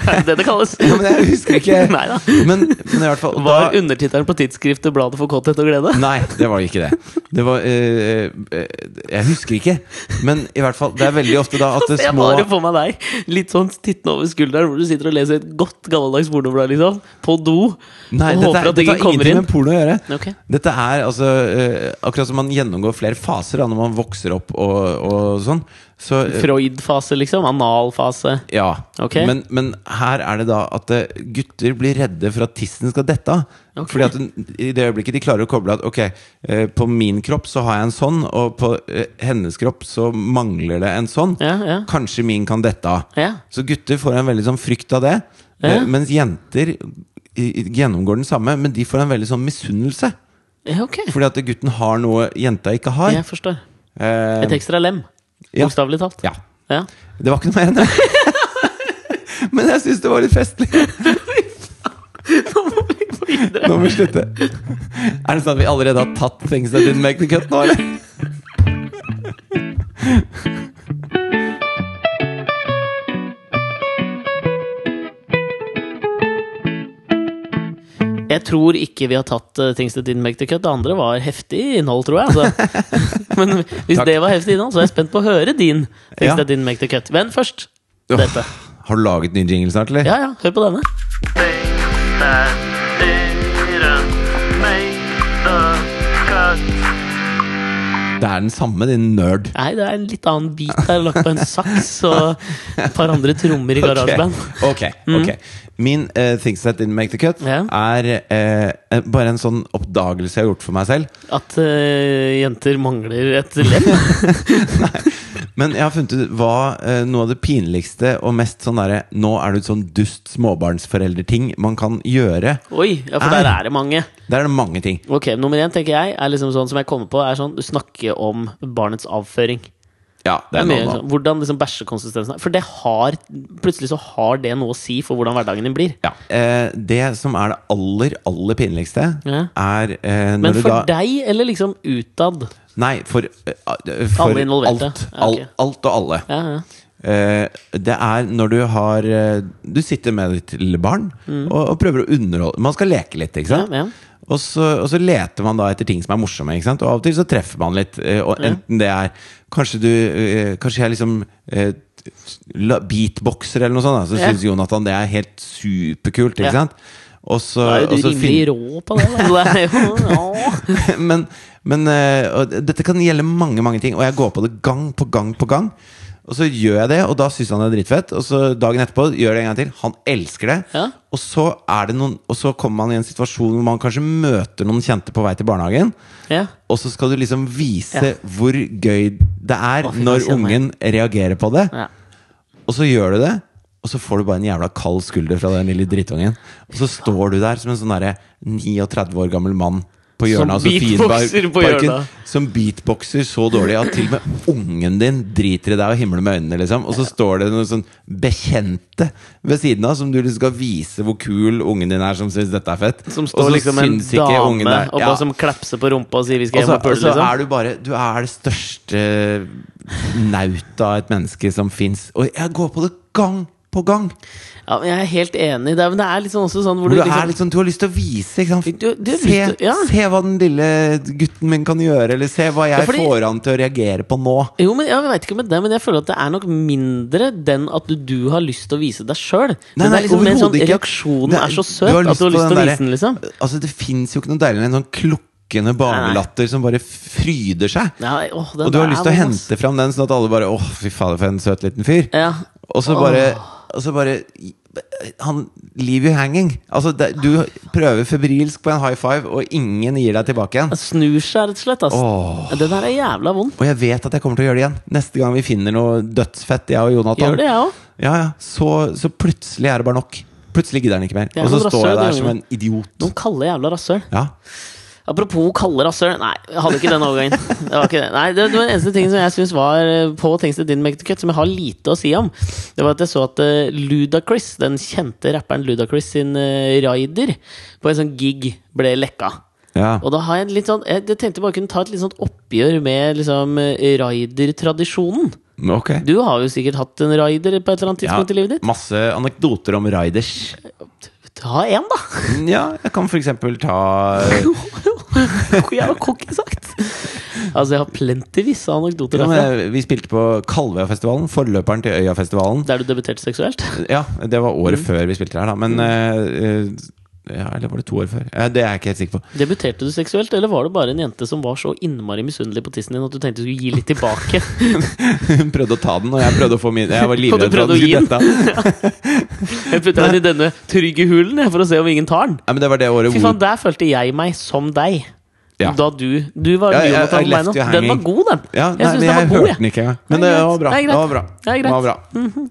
Speaker 1: Er det det det kalles?
Speaker 2: Ja, men jeg husker ikke
Speaker 1: Nei da.
Speaker 2: Men, men i hvert fall og
Speaker 1: Var
Speaker 2: da,
Speaker 1: undertittelen på tidsskriftet 'Bladet for kåthet og glede'?
Speaker 2: Nei, det var ikke det Det var eh, eh, Jeg husker ikke Men i hvert fall, det er veldig ofte da at det
Speaker 1: Altså, Jeg
Speaker 2: små
Speaker 1: bare får meg deg litt sånn tittende over skulderen, hvor du sitter og leser et godt gammeldags pornoblad, liksom. På do.
Speaker 2: Nei,
Speaker 1: og håper at
Speaker 2: dette, er-
Speaker 1: ingen
Speaker 2: dette har
Speaker 1: kommer
Speaker 2: ingenting
Speaker 1: inn.
Speaker 2: med porno å gjøre
Speaker 1: Ok.
Speaker 2: Dette er altså eh, Akkurat som man gjennomgår flere faser da, når man vokser opp og, og sånn. Så eh,
Speaker 1: Freud-fase, liksom. Analfase.
Speaker 2: ja.
Speaker 1: Ok.
Speaker 2: Men, men her er det da at eh, gutter blir redde for at tissen skal dette av.
Speaker 1: Ok.
Speaker 2: Fordi at den- i det øyeblikket de klarer å koble at ok, eh, på min kropp så har jeg en sånn, og på eh, hennes kropp så mangler det en sånn.
Speaker 1: Ja, ja.
Speaker 2: Kanskje min kan dette av.
Speaker 1: ja.
Speaker 2: Så gutter får en veldig sånn frykt av det.
Speaker 1: Ja.
Speaker 2: eh, Mens jenter i- i- gjennomgår den samme, men de får en veldig sånn misunnelse.
Speaker 1: ja ok.
Speaker 2: Fordi at gutten har noe jenta ikke har.
Speaker 1: Jeg forstår.
Speaker 2: Eh,
Speaker 1: Et ekstra lem.
Speaker 2: Ja.
Speaker 1: Bokstavelig talt.
Speaker 2: ja.
Speaker 1: Ja.
Speaker 2: Det var ikke noe med henne. Men jeg syns det var litt festlig.
Speaker 1: Nå må vi få videre.
Speaker 2: Nå må vi slutte. Er det sånn at vi allerede har tatt things that didn't make the cut nå, eller?
Speaker 1: Jeg tror ikke vi har tatt uh, Things That Didn't Make The Cut. Det andre var heftig innhold, tror jeg. Altså. Men hvis
Speaker 2: Takk.
Speaker 1: det var heftig innhold, så er jeg spent på å høre din Things
Speaker 2: Ja.
Speaker 1: That Didn't Make The Cut. Men først
Speaker 2: Åh.
Speaker 1: dette.
Speaker 2: Har du laget ny jingle snart, eller?
Speaker 1: Ja, ja, hør på denne.
Speaker 3: things that didn't make the cut.
Speaker 2: Det er den samme, din nerd.
Speaker 1: Nei, det er en litt annen bit der, lagt på en saks og et par andre trommer i garasjeband.
Speaker 2: Ok, ok Min eh, Things That Didn't Make The Cut
Speaker 1: Mm. Ja.
Speaker 2: er eh, eh, bare en sånn oppdagelse jeg har gjort for meg selv.
Speaker 1: At eh, jenter mangler et lem.
Speaker 2: Men jeg har funnet ut hva eh, noe av det pinligste og mest sånn derre Nå er du et sånn dust småbarnsforelder-ting man kan gjøre.
Speaker 1: Oi, ja, for der er det mange.
Speaker 2: Der er det mange ting.
Speaker 1: Ok, Nummer én tenker jeg er liksom sånn som jeg kommer på, er sånn snakke om barnets avføring.
Speaker 2: Ja,
Speaker 1: Det
Speaker 2: det
Speaker 1: er
Speaker 2: er
Speaker 1: mye,
Speaker 2: noe
Speaker 1: sånn, hvordan liksom bæsjekonsistensen er. For det har, plutselig så har det noe å si for hvordan hverdagen din blir.
Speaker 2: ja. eh, Det som er det aller, aller pinligste,
Speaker 1: Ja.
Speaker 2: er eh, når
Speaker 1: Men
Speaker 2: du
Speaker 1: for
Speaker 2: da
Speaker 1: deg, eller liksom utad?
Speaker 2: Nei, for, eh, for
Speaker 1: Alle involverte.
Speaker 2: Alt,
Speaker 1: Ja, ok.
Speaker 2: alt, alt og alle.
Speaker 1: Ja, ja.
Speaker 2: Eh, det er når du har eh, Du sitter med ditt lille barn og, og prøver å underholde Man skal leke litt, ikke sant?
Speaker 1: Mm. Ja, ja.
Speaker 2: Og, så, og så leter man da etter ting som er morsomme, ikke sant? og av og til så treffer man litt. eh, Og enten det er Kanskje du eh, Kanskje jeg liksom eh, la- Beatboxer eller noe sånt, da. så
Speaker 1: Ja.
Speaker 2: synes syns Jonathan det er helt superkult, ikke
Speaker 1: Ja.
Speaker 2: sant? Og så,
Speaker 1: Da er jo
Speaker 2: og
Speaker 1: du
Speaker 2: så
Speaker 1: rimelig
Speaker 2: fin-
Speaker 1: rå på det. Da. Det er jo, ja.
Speaker 2: men men eh, og dette kan gjelde mange mange ting, og jeg går på det gang på gang på gang. Og så gjør jeg det, og da syns han det er dritfett. Og så dagen etterpå gjør jeg det en gang til. Han elsker det.
Speaker 1: Ja.
Speaker 2: Og, så er det noen, og så kommer man i en situasjon hvor man kanskje møter noen kjente på vei til barnehagen.
Speaker 1: Ja.
Speaker 2: Og så skal du liksom vise
Speaker 1: Ja.
Speaker 2: hvor gøy det er
Speaker 1: Å, fy,
Speaker 2: når
Speaker 1: jeg kjenner meg.
Speaker 2: ungen reagerer på det.
Speaker 1: Ja.
Speaker 2: Og så gjør du det, og så får du bare en jævla kald skulder fra den lille drittungen. Og så står du der som en sånn derre 39 år gammel mann på
Speaker 1: Som
Speaker 2: hjørnet av
Speaker 1: beatboxer på hjørnet.
Speaker 2: Sofienbergparken. Som beatboxer så dårlig at til og med ungen din driter i deg og himler med øynene. liksom Og så står det noen sånn bekjente ved siden av som du liksom skal vise hvor kul ungen din er, som syns dette er fett.
Speaker 1: Som
Speaker 2: Og
Speaker 1: står
Speaker 2: så
Speaker 1: liksom en
Speaker 2: syns ikke
Speaker 1: dame
Speaker 2: ungen det.
Speaker 1: og
Speaker 2: Ja.
Speaker 1: bare som klapser på rumpa og sier 'vi skal
Speaker 2: Og så,
Speaker 1: hjem og
Speaker 2: og
Speaker 1: pule'.
Speaker 2: så
Speaker 1: Liksom.
Speaker 2: Altså, er du bare Du er det største nautet av et menneske som fins. Og jeg går på det gang på gang!
Speaker 1: Ja, men jeg er helt enig. Det er, men det er liksom også sånn hvor
Speaker 2: Hvor
Speaker 1: du
Speaker 2: du,
Speaker 1: liksom
Speaker 2: er litt sånn, du har lyst til å vise. Ikke sant?
Speaker 1: Du- du har
Speaker 2: se,
Speaker 1: lyst til- ja.
Speaker 2: se hva den lille gutten min kan gjøre, eller se hva jeg
Speaker 1: Ja, fordi-
Speaker 2: får han til å reagere på nå.
Speaker 1: Jo, men jeg vet ikke med det, men jeg føler at det er nok mindre den at du, du har lyst til å vise deg sjøl. Men det er liksom mer sånn
Speaker 2: overhodet ikke.
Speaker 1: reaksjonen
Speaker 2: Det
Speaker 1: er så søt
Speaker 2: har
Speaker 1: at du har lyst til å
Speaker 2: den
Speaker 1: vise den, liksom.
Speaker 2: derre- Altså, det fins jo ikke noe deiligere enn sånn klukkende barnelatter som bare fryder seg.
Speaker 1: Ja, åh, den
Speaker 2: Og du har
Speaker 1: er
Speaker 2: lyst til å
Speaker 1: vond, ass.
Speaker 2: hente fram den, sånn at alle bare Åh, fy fader, for en søt liten fyr.
Speaker 1: Ja.
Speaker 2: Og så bare, og så bare Han leave you hanging. Altså, det, du prøver febrilsk på en high five, og ingen gir deg tilbake igjen.
Speaker 1: Den snur seg rett og slett, ass.
Speaker 2: Åh.
Speaker 1: Den der er jævla vond.
Speaker 2: Og jeg vet at jeg kommer til å gjøre det igjen. Neste gang vi finner noe dødsfett, jeg og Jonathan.
Speaker 1: Gjør det, jeg òg.
Speaker 2: Ja, ja. Så, så plutselig er det bare nok. plutselig gidder han ikke mer.
Speaker 1: er
Speaker 2: Og så
Speaker 1: noen
Speaker 2: står jeg
Speaker 1: rasshøl,
Speaker 2: der
Speaker 1: de
Speaker 2: som en idiot.
Speaker 1: Noen kalde jævla rasshøl.
Speaker 2: Ja.
Speaker 1: Apropos kalde rasshøl. Nei, jeg hadde ikke den overgangen. Det var ikke det. Nei, det var den eneste tingen som jeg synes var eh, på Things That Didn't Make The Cut, som jeg har lite å si om. Det var at jeg så at eh, Ludacris, den kjente rapperen Ludacris sin eh, rider, på en sånn gig ble lekka.
Speaker 2: ja.
Speaker 1: Og da har jeg litt sånn Jeg jeg tenkte bare kunne ta et litt sånt oppgjør med liksom eh, rider-tradisjonen.
Speaker 2: Ok.
Speaker 1: Du har jo sikkert hatt en rider på et eller annet
Speaker 2: Ja,
Speaker 1: tidspunkt i livet ditt.
Speaker 2: masse anekdoter om riders.
Speaker 1: Ta en, da!
Speaker 2: Ja, jeg kan for eksempel ta
Speaker 1: Jævla cocky sagt. Altså, jeg har plentyvis av anekdoter
Speaker 2: Ja, men
Speaker 1: derfra.
Speaker 2: jeg- vi spilte på Kalvøyafestivalen, forløperen til Øyafestivalen.
Speaker 1: Der du debuterte seksuelt?
Speaker 2: Ja, det var året før vi spilte her, da. Men eh, eh, ja, Eller var det to år før? Eh, det er jeg ikke helt sikker på.
Speaker 1: Debuterte du seksuelt, eller var det bare en jente som var så innmari misunnelig på tissen din at du tenkte du skulle gi litt tilbake?
Speaker 2: Hun prøvde å ta den, og jeg prøvde å få min. Jeg var livredd for
Speaker 1: prøvde å
Speaker 2: at hun
Speaker 1: gi
Speaker 2: skulle
Speaker 1: den?
Speaker 2: dette. av.
Speaker 1: Jeg putta den i denne trygge hulen jeg, for å se om ingen tar den.
Speaker 2: Nei, men det var det året
Speaker 1: Fy
Speaker 2: hvor
Speaker 1: faen, der følte jeg meg som deg.
Speaker 2: Mm. Ja.
Speaker 1: Da du Du var
Speaker 2: Ja, jeg-
Speaker 1: Jonathan
Speaker 2: I left
Speaker 1: Beino.
Speaker 2: you
Speaker 1: Den var
Speaker 2: hanging.
Speaker 1: god, den.
Speaker 2: Ja,
Speaker 1: jeg
Speaker 2: nei,
Speaker 1: syns
Speaker 2: men
Speaker 1: den
Speaker 2: jeg
Speaker 1: var god,
Speaker 2: hørte
Speaker 1: jeg.
Speaker 2: den ikke engang. Men
Speaker 1: Det
Speaker 2: det,
Speaker 1: er
Speaker 2: var bra.
Speaker 1: greit. Det er
Speaker 2: Det var bra.
Speaker 1: Det er
Speaker 2: Det var bra.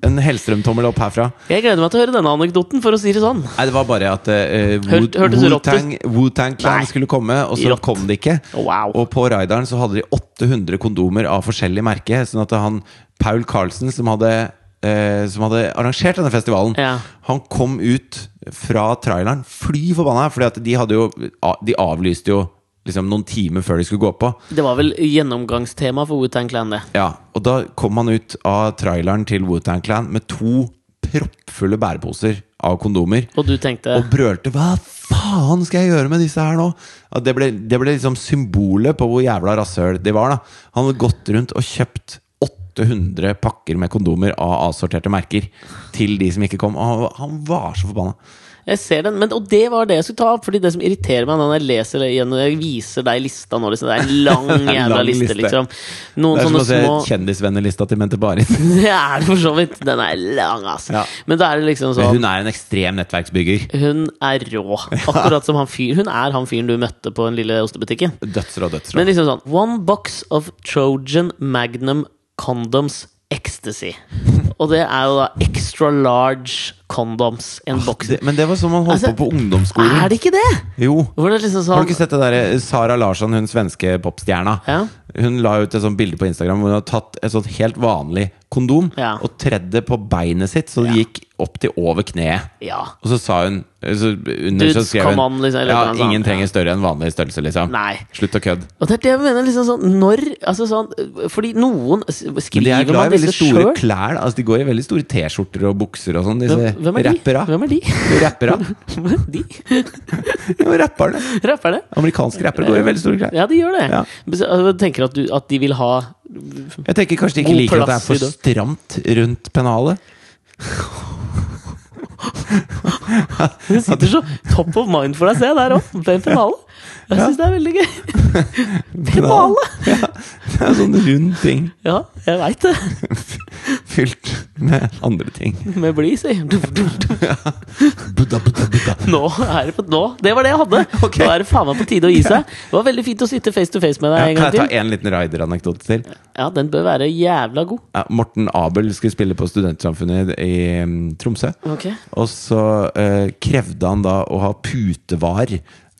Speaker 2: En Hellstrøm-tommel opp herfra.
Speaker 1: Jeg gleder meg til å høre denne anekdoten, for å si det sånn.
Speaker 2: Nei, det var bare at eh, Wu-
Speaker 1: Hørt- hørtes rått ut.
Speaker 2: Wu-Tang Wu-Tang Clan
Speaker 1: Nei.
Speaker 2: skulle komme, og så
Speaker 1: Rått. Oh,
Speaker 2: kom det ikke.
Speaker 1: Wow.
Speaker 2: Og på Raideren så hadde de 800 kondomer av forskjellig merke. Sånn at han Paul Carlsen, som hadde, eh, som hadde arrangert denne festivalen,
Speaker 1: Ja.
Speaker 2: han kom ut fra traileren fly forbanna, for de hadde jo a- De avlyste jo liksom noen timer før de skulle gå på.
Speaker 1: Det var vel gjennomgangstema for Wu-Tang Clan, det.
Speaker 2: Ja, Og da kom han ut av traileren til Wu-Tang Clan med to proppfulle bæreposer av kondomer
Speaker 1: Og du tenkte
Speaker 2: og brølte 'hva faen skal jeg gjøre med disse her nå?' Ja, det, ble, det ble liksom symbolet på hvor jævla rasshøl de var. da Han hadde gått rundt og kjøpt 800 pakker med kondomer av avsorterte merker til de som ikke kom. Og han, han var så forbanna.
Speaker 1: Jeg ser den, men, og det var det jeg skulle ta opp. Fordi det som irriterer meg når jeg leser det igjen, og jeg viser deg lista nå, liksom. Det er en lang
Speaker 2: en
Speaker 1: jævla
Speaker 2: lang
Speaker 1: liste,
Speaker 2: liste.
Speaker 1: liksom.
Speaker 2: Det
Speaker 1: Noen
Speaker 2: er som å
Speaker 1: sånne
Speaker 2: se
Speaker 1: små Sånn.
Speaker 2: kjendisvennelista til Mente Barit.
Speaker 1: Det er det for så vidt. Den er lang, ass.
Speaker 2: Ja.
Speaker 1: Men da er det liksom
Speaker 2: Men
Speaker 1: sånn
Speaker 2: Hun er en ekstrem nettverksbygger.
Speaker 1: Hun er rå. Akkurat som han fyren. Hun er han fyren du møtte på den lille ostebutikken.
Speaker 2: Dødsrå, dødsrå.
Speaker 1: Men liksom sånn One box of Trojan Magnum Condoms Ecstasy. Og det er jo da extra large condoms. En boks.
Speaker 2: det, men det var sånn man holdt
Speaker 1: Altså,
Speaker 2: på på ungdomsskolen.
Speaker 1: Er det ikke det?!
Speaker 2: Jo.
Speaker 1: Hvor det er liksom sånn
Speaker 2: Har du ikke sett det der eh, Sara Larsson, hun svenske popstjerna?
Speaker 1: Ja.
Speaker 2: Hun la ut et sånt bilde på Instagram hvor hun har tatt et sånt helt vanlig kondom
Speaker 1: Ja.
Speaker 2: og tredd det på beinet sitt, så det
Speaker 1: Ja.
Speaker 2: gikk opp til over kneet.
Speaker 1: Ja.
Speaker 2: Og så sa hun eh, så under,
Speaker 1: Dudes,
Speaker 2: så skrev hun
Speaker 1: come on, liksom, eller
Speaker 2: Ja,
Speaker 1: noe sånt.
Speaker 2: ingen trenger større enn vanlig størrelse, liksom.
Speaker 1: Nei.
Speaker 2: Slutt å kødde.
Speaker 1: Og det er det jeg mener. liksom sånn Når altså sånn, Fordi noen s-
Speaker 2: Men de er
Speaker 1: Skriver
Speaker 2: glad
Speaker 1: man
Speaker 2: i veldig
Speaker 1: disse
Speaker 2: store
Speaker 1: sjøl?
Speaker 2: klær. Altså, de går i veldig store T-skjorter og bukser og sånn, disse
Speaker 1: Hvem, hvem er de?
Speaker 2: rappera.
Speaker 1: Hvem er de?
Speaker 2: Rappera.
Speaker 1: Hvem er de?
Speaker 2: Jo, rapperne.
Speaker 1: Rapperne?
Speaker 2: Amerikanske rappere går i veldig store klær.
Speaker 1: Ja, de gjør det.
Speaker 2: Ja.
Speaker 1: Men så, altså, tenker at, du, at de vil ha
Speaker 2: Jeg tenker kanskje de ikke
Speaker 1: God
Speaker 2: liker at det er
Speaker 1: plass i
Speaker 2: for stramt rundt pennalet.
Speaker 1: Det sitter så top of mind for deg, se der òg! Den finalen. Jeg syns det er veldig gøy.
Speaker 2: Pennal.
Speaker 1: Finale!
Speaker 2: Ja, det er en sånn rund ting
Speaker 1: Ja, jeg veit det.
Speaker 2: fylt med andre ting.
Speaker 1: Med bly, si. Nå
Speaker 2: Buddha, buddha, buddha.
Speaker 1: er det på Nå! Det var det jeg hadde!
Speaker 2: Ok.
Speaker 1: Nå er det faen meg på tide å gi seg. Det var veldig fint å sitte face to face med deg
Speaker 2: Ja,
Speaker 1: en
Speaker 2: kan jeg
Speaker 1: gang
Speaker 2: ta
Speaker 1: til.
Speaker 2: en liten Raider-anekdote til?
Speaker 1: Ja, den bør være jævla god.
Speaker 2: Ja, Morten Abel skulle spille på Studentsamfunnet i mm, Tromsø.
Speaker 1: Ok.
Speaker 2: Og så eh, krevde han da å ha putevar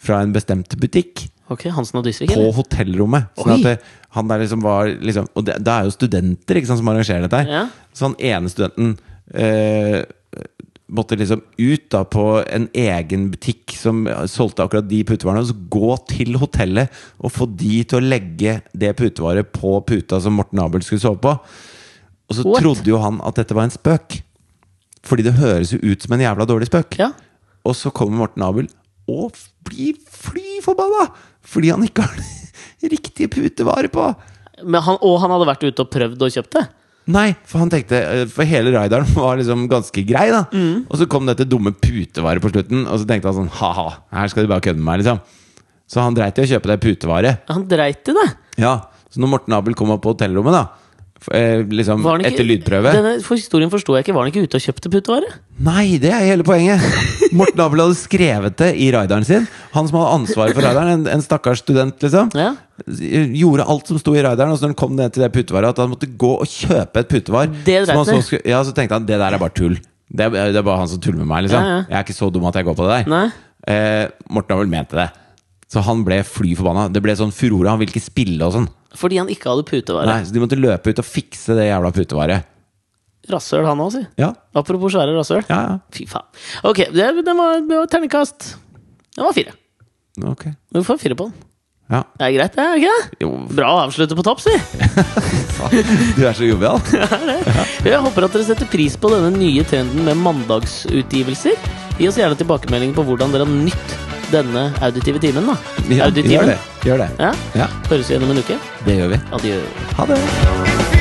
Speaker 2: fra en bestemt butikk
Speaker 1: Ok, Hansen og Dysvik,
Speaker 2: på
Speaker 1: eller?
Speaker 2: hotellrommet. Sånn
Speaker 1: Oi.
Speaker 2: at det, han der liksom var liksom, Og det, det er jo studenter ikke sant, som arrangerer dette her.
Speaker 1: Ja.
Speaker 2: Så han ene studenten eh, måtte liksom ut da på en egen butikk som solgte akkurat de putevarene, og så gå til hotellet og få de til å legge det putevaret på puta som Morten Abel skulle sove på. Og så
Speaker 1: What?
Speaker 2: trodde jo han at dette var en spøk. Fordi det høres jo ut som en jævla dårlig spøk.
Speaker 1: Ja.
Speaker 2: Og så kommer Morten Abel og f- blir fly forbanna! Fordi han ikke har det riktige putevare på!
Speaker 1: Men han, og han hadde vært ute og prøvd og kjøpt det?
Speaker 2: Nei, for han tenkte eh, For hele rideren var liksom ganske grei, da.
Speaker 1: Mm.
Speaker 2: Og så kom dette dumme putevaret på slutten, og så tenkte han sånn ha-ha, her skal de bare kødde med meg, liksom. Så han dreit i å kjøpe det putevaret.
Speaker 1: Han dreit i det!
Speaker 2: Ja, så når Morten Abel kom opp på hotellrommet, da, f- eh, liksom
Speaker 1: Var han ikke-
Speaker 2: etter lydprøve
Speaker 1: Denne for historien forsto jeg ikke. Var han ikke ute og kjøpte putevare?
Speaker 2: Nei, det er hele poenget! Morten Abel hadde skrevet det i raideren sin. Han som hadde ansvaret for raideren, en, en stakkars student, liksom.
Speaker 1: Ja.
Speaker 2: Gjorde alt som sto i raideren, og så når han kom ned til det putevaret, at han måtte gå og kjøpe et putevar.
Speaker 1: Det dreit
Speaker 2: som han så,
Speaker 1: han i.
Speaker 2: skulle- ja, så tenkte han det der er bare tull. Det er, det er bare han som tuller med meg, liksom.
Speaker 1: Ja, ja.
Speaker 2: Jeg er ikke så dum at jeg går på det der.
Speaker 1: Nei?
Speaker 2: Eh, Morten har vel ment det. Så han ble fly forbanna. Det ble sånn furore. Han ville ikke spille og sånn.
Speaker 1: Fordi han ikke hadde putevare.
Speaker 2: Nei, så de måtte løpe ut og fikse det jævla putevaret.
Speaker 1: Rasshøl, han òg, si.
Speaker 2: Ja,
Speaker 1: Apropos svære rasshøl.
Speaker 2: ja, ja.
Speaker 1: Fy faen. Ok, det, det, var, det var terningkast. Det var fire.
Speaker 2: Ok.
Speaker 1: Du får fire på den.
Speaker 2: Ja.
Speaker 1: Det er greit, det, er ikke det?
Speaker 2: Jo,
Speaker 1: Bra å avslutte på topp, si.
Speaker 2: du er så jovial.
Speaker 1: Jeg håper at dere setter pris på denne nye trenden med mandagsutgivelser. Gi oss gjerne tilbakemelding på hvordan dere har nytt denne auditive timen. da.
Speaker 2: Ja, gjør
Speaker 1: Auditimen.
Speaker 2: det. Gjør det.
Speaker 1: Ja.
Speaker 2: Ja,
Speaker 1: Høres igjen om en uke.
Speaker 2: det gjør vi.
Speaker 1: Adjø.
Speaker 2: Ha det.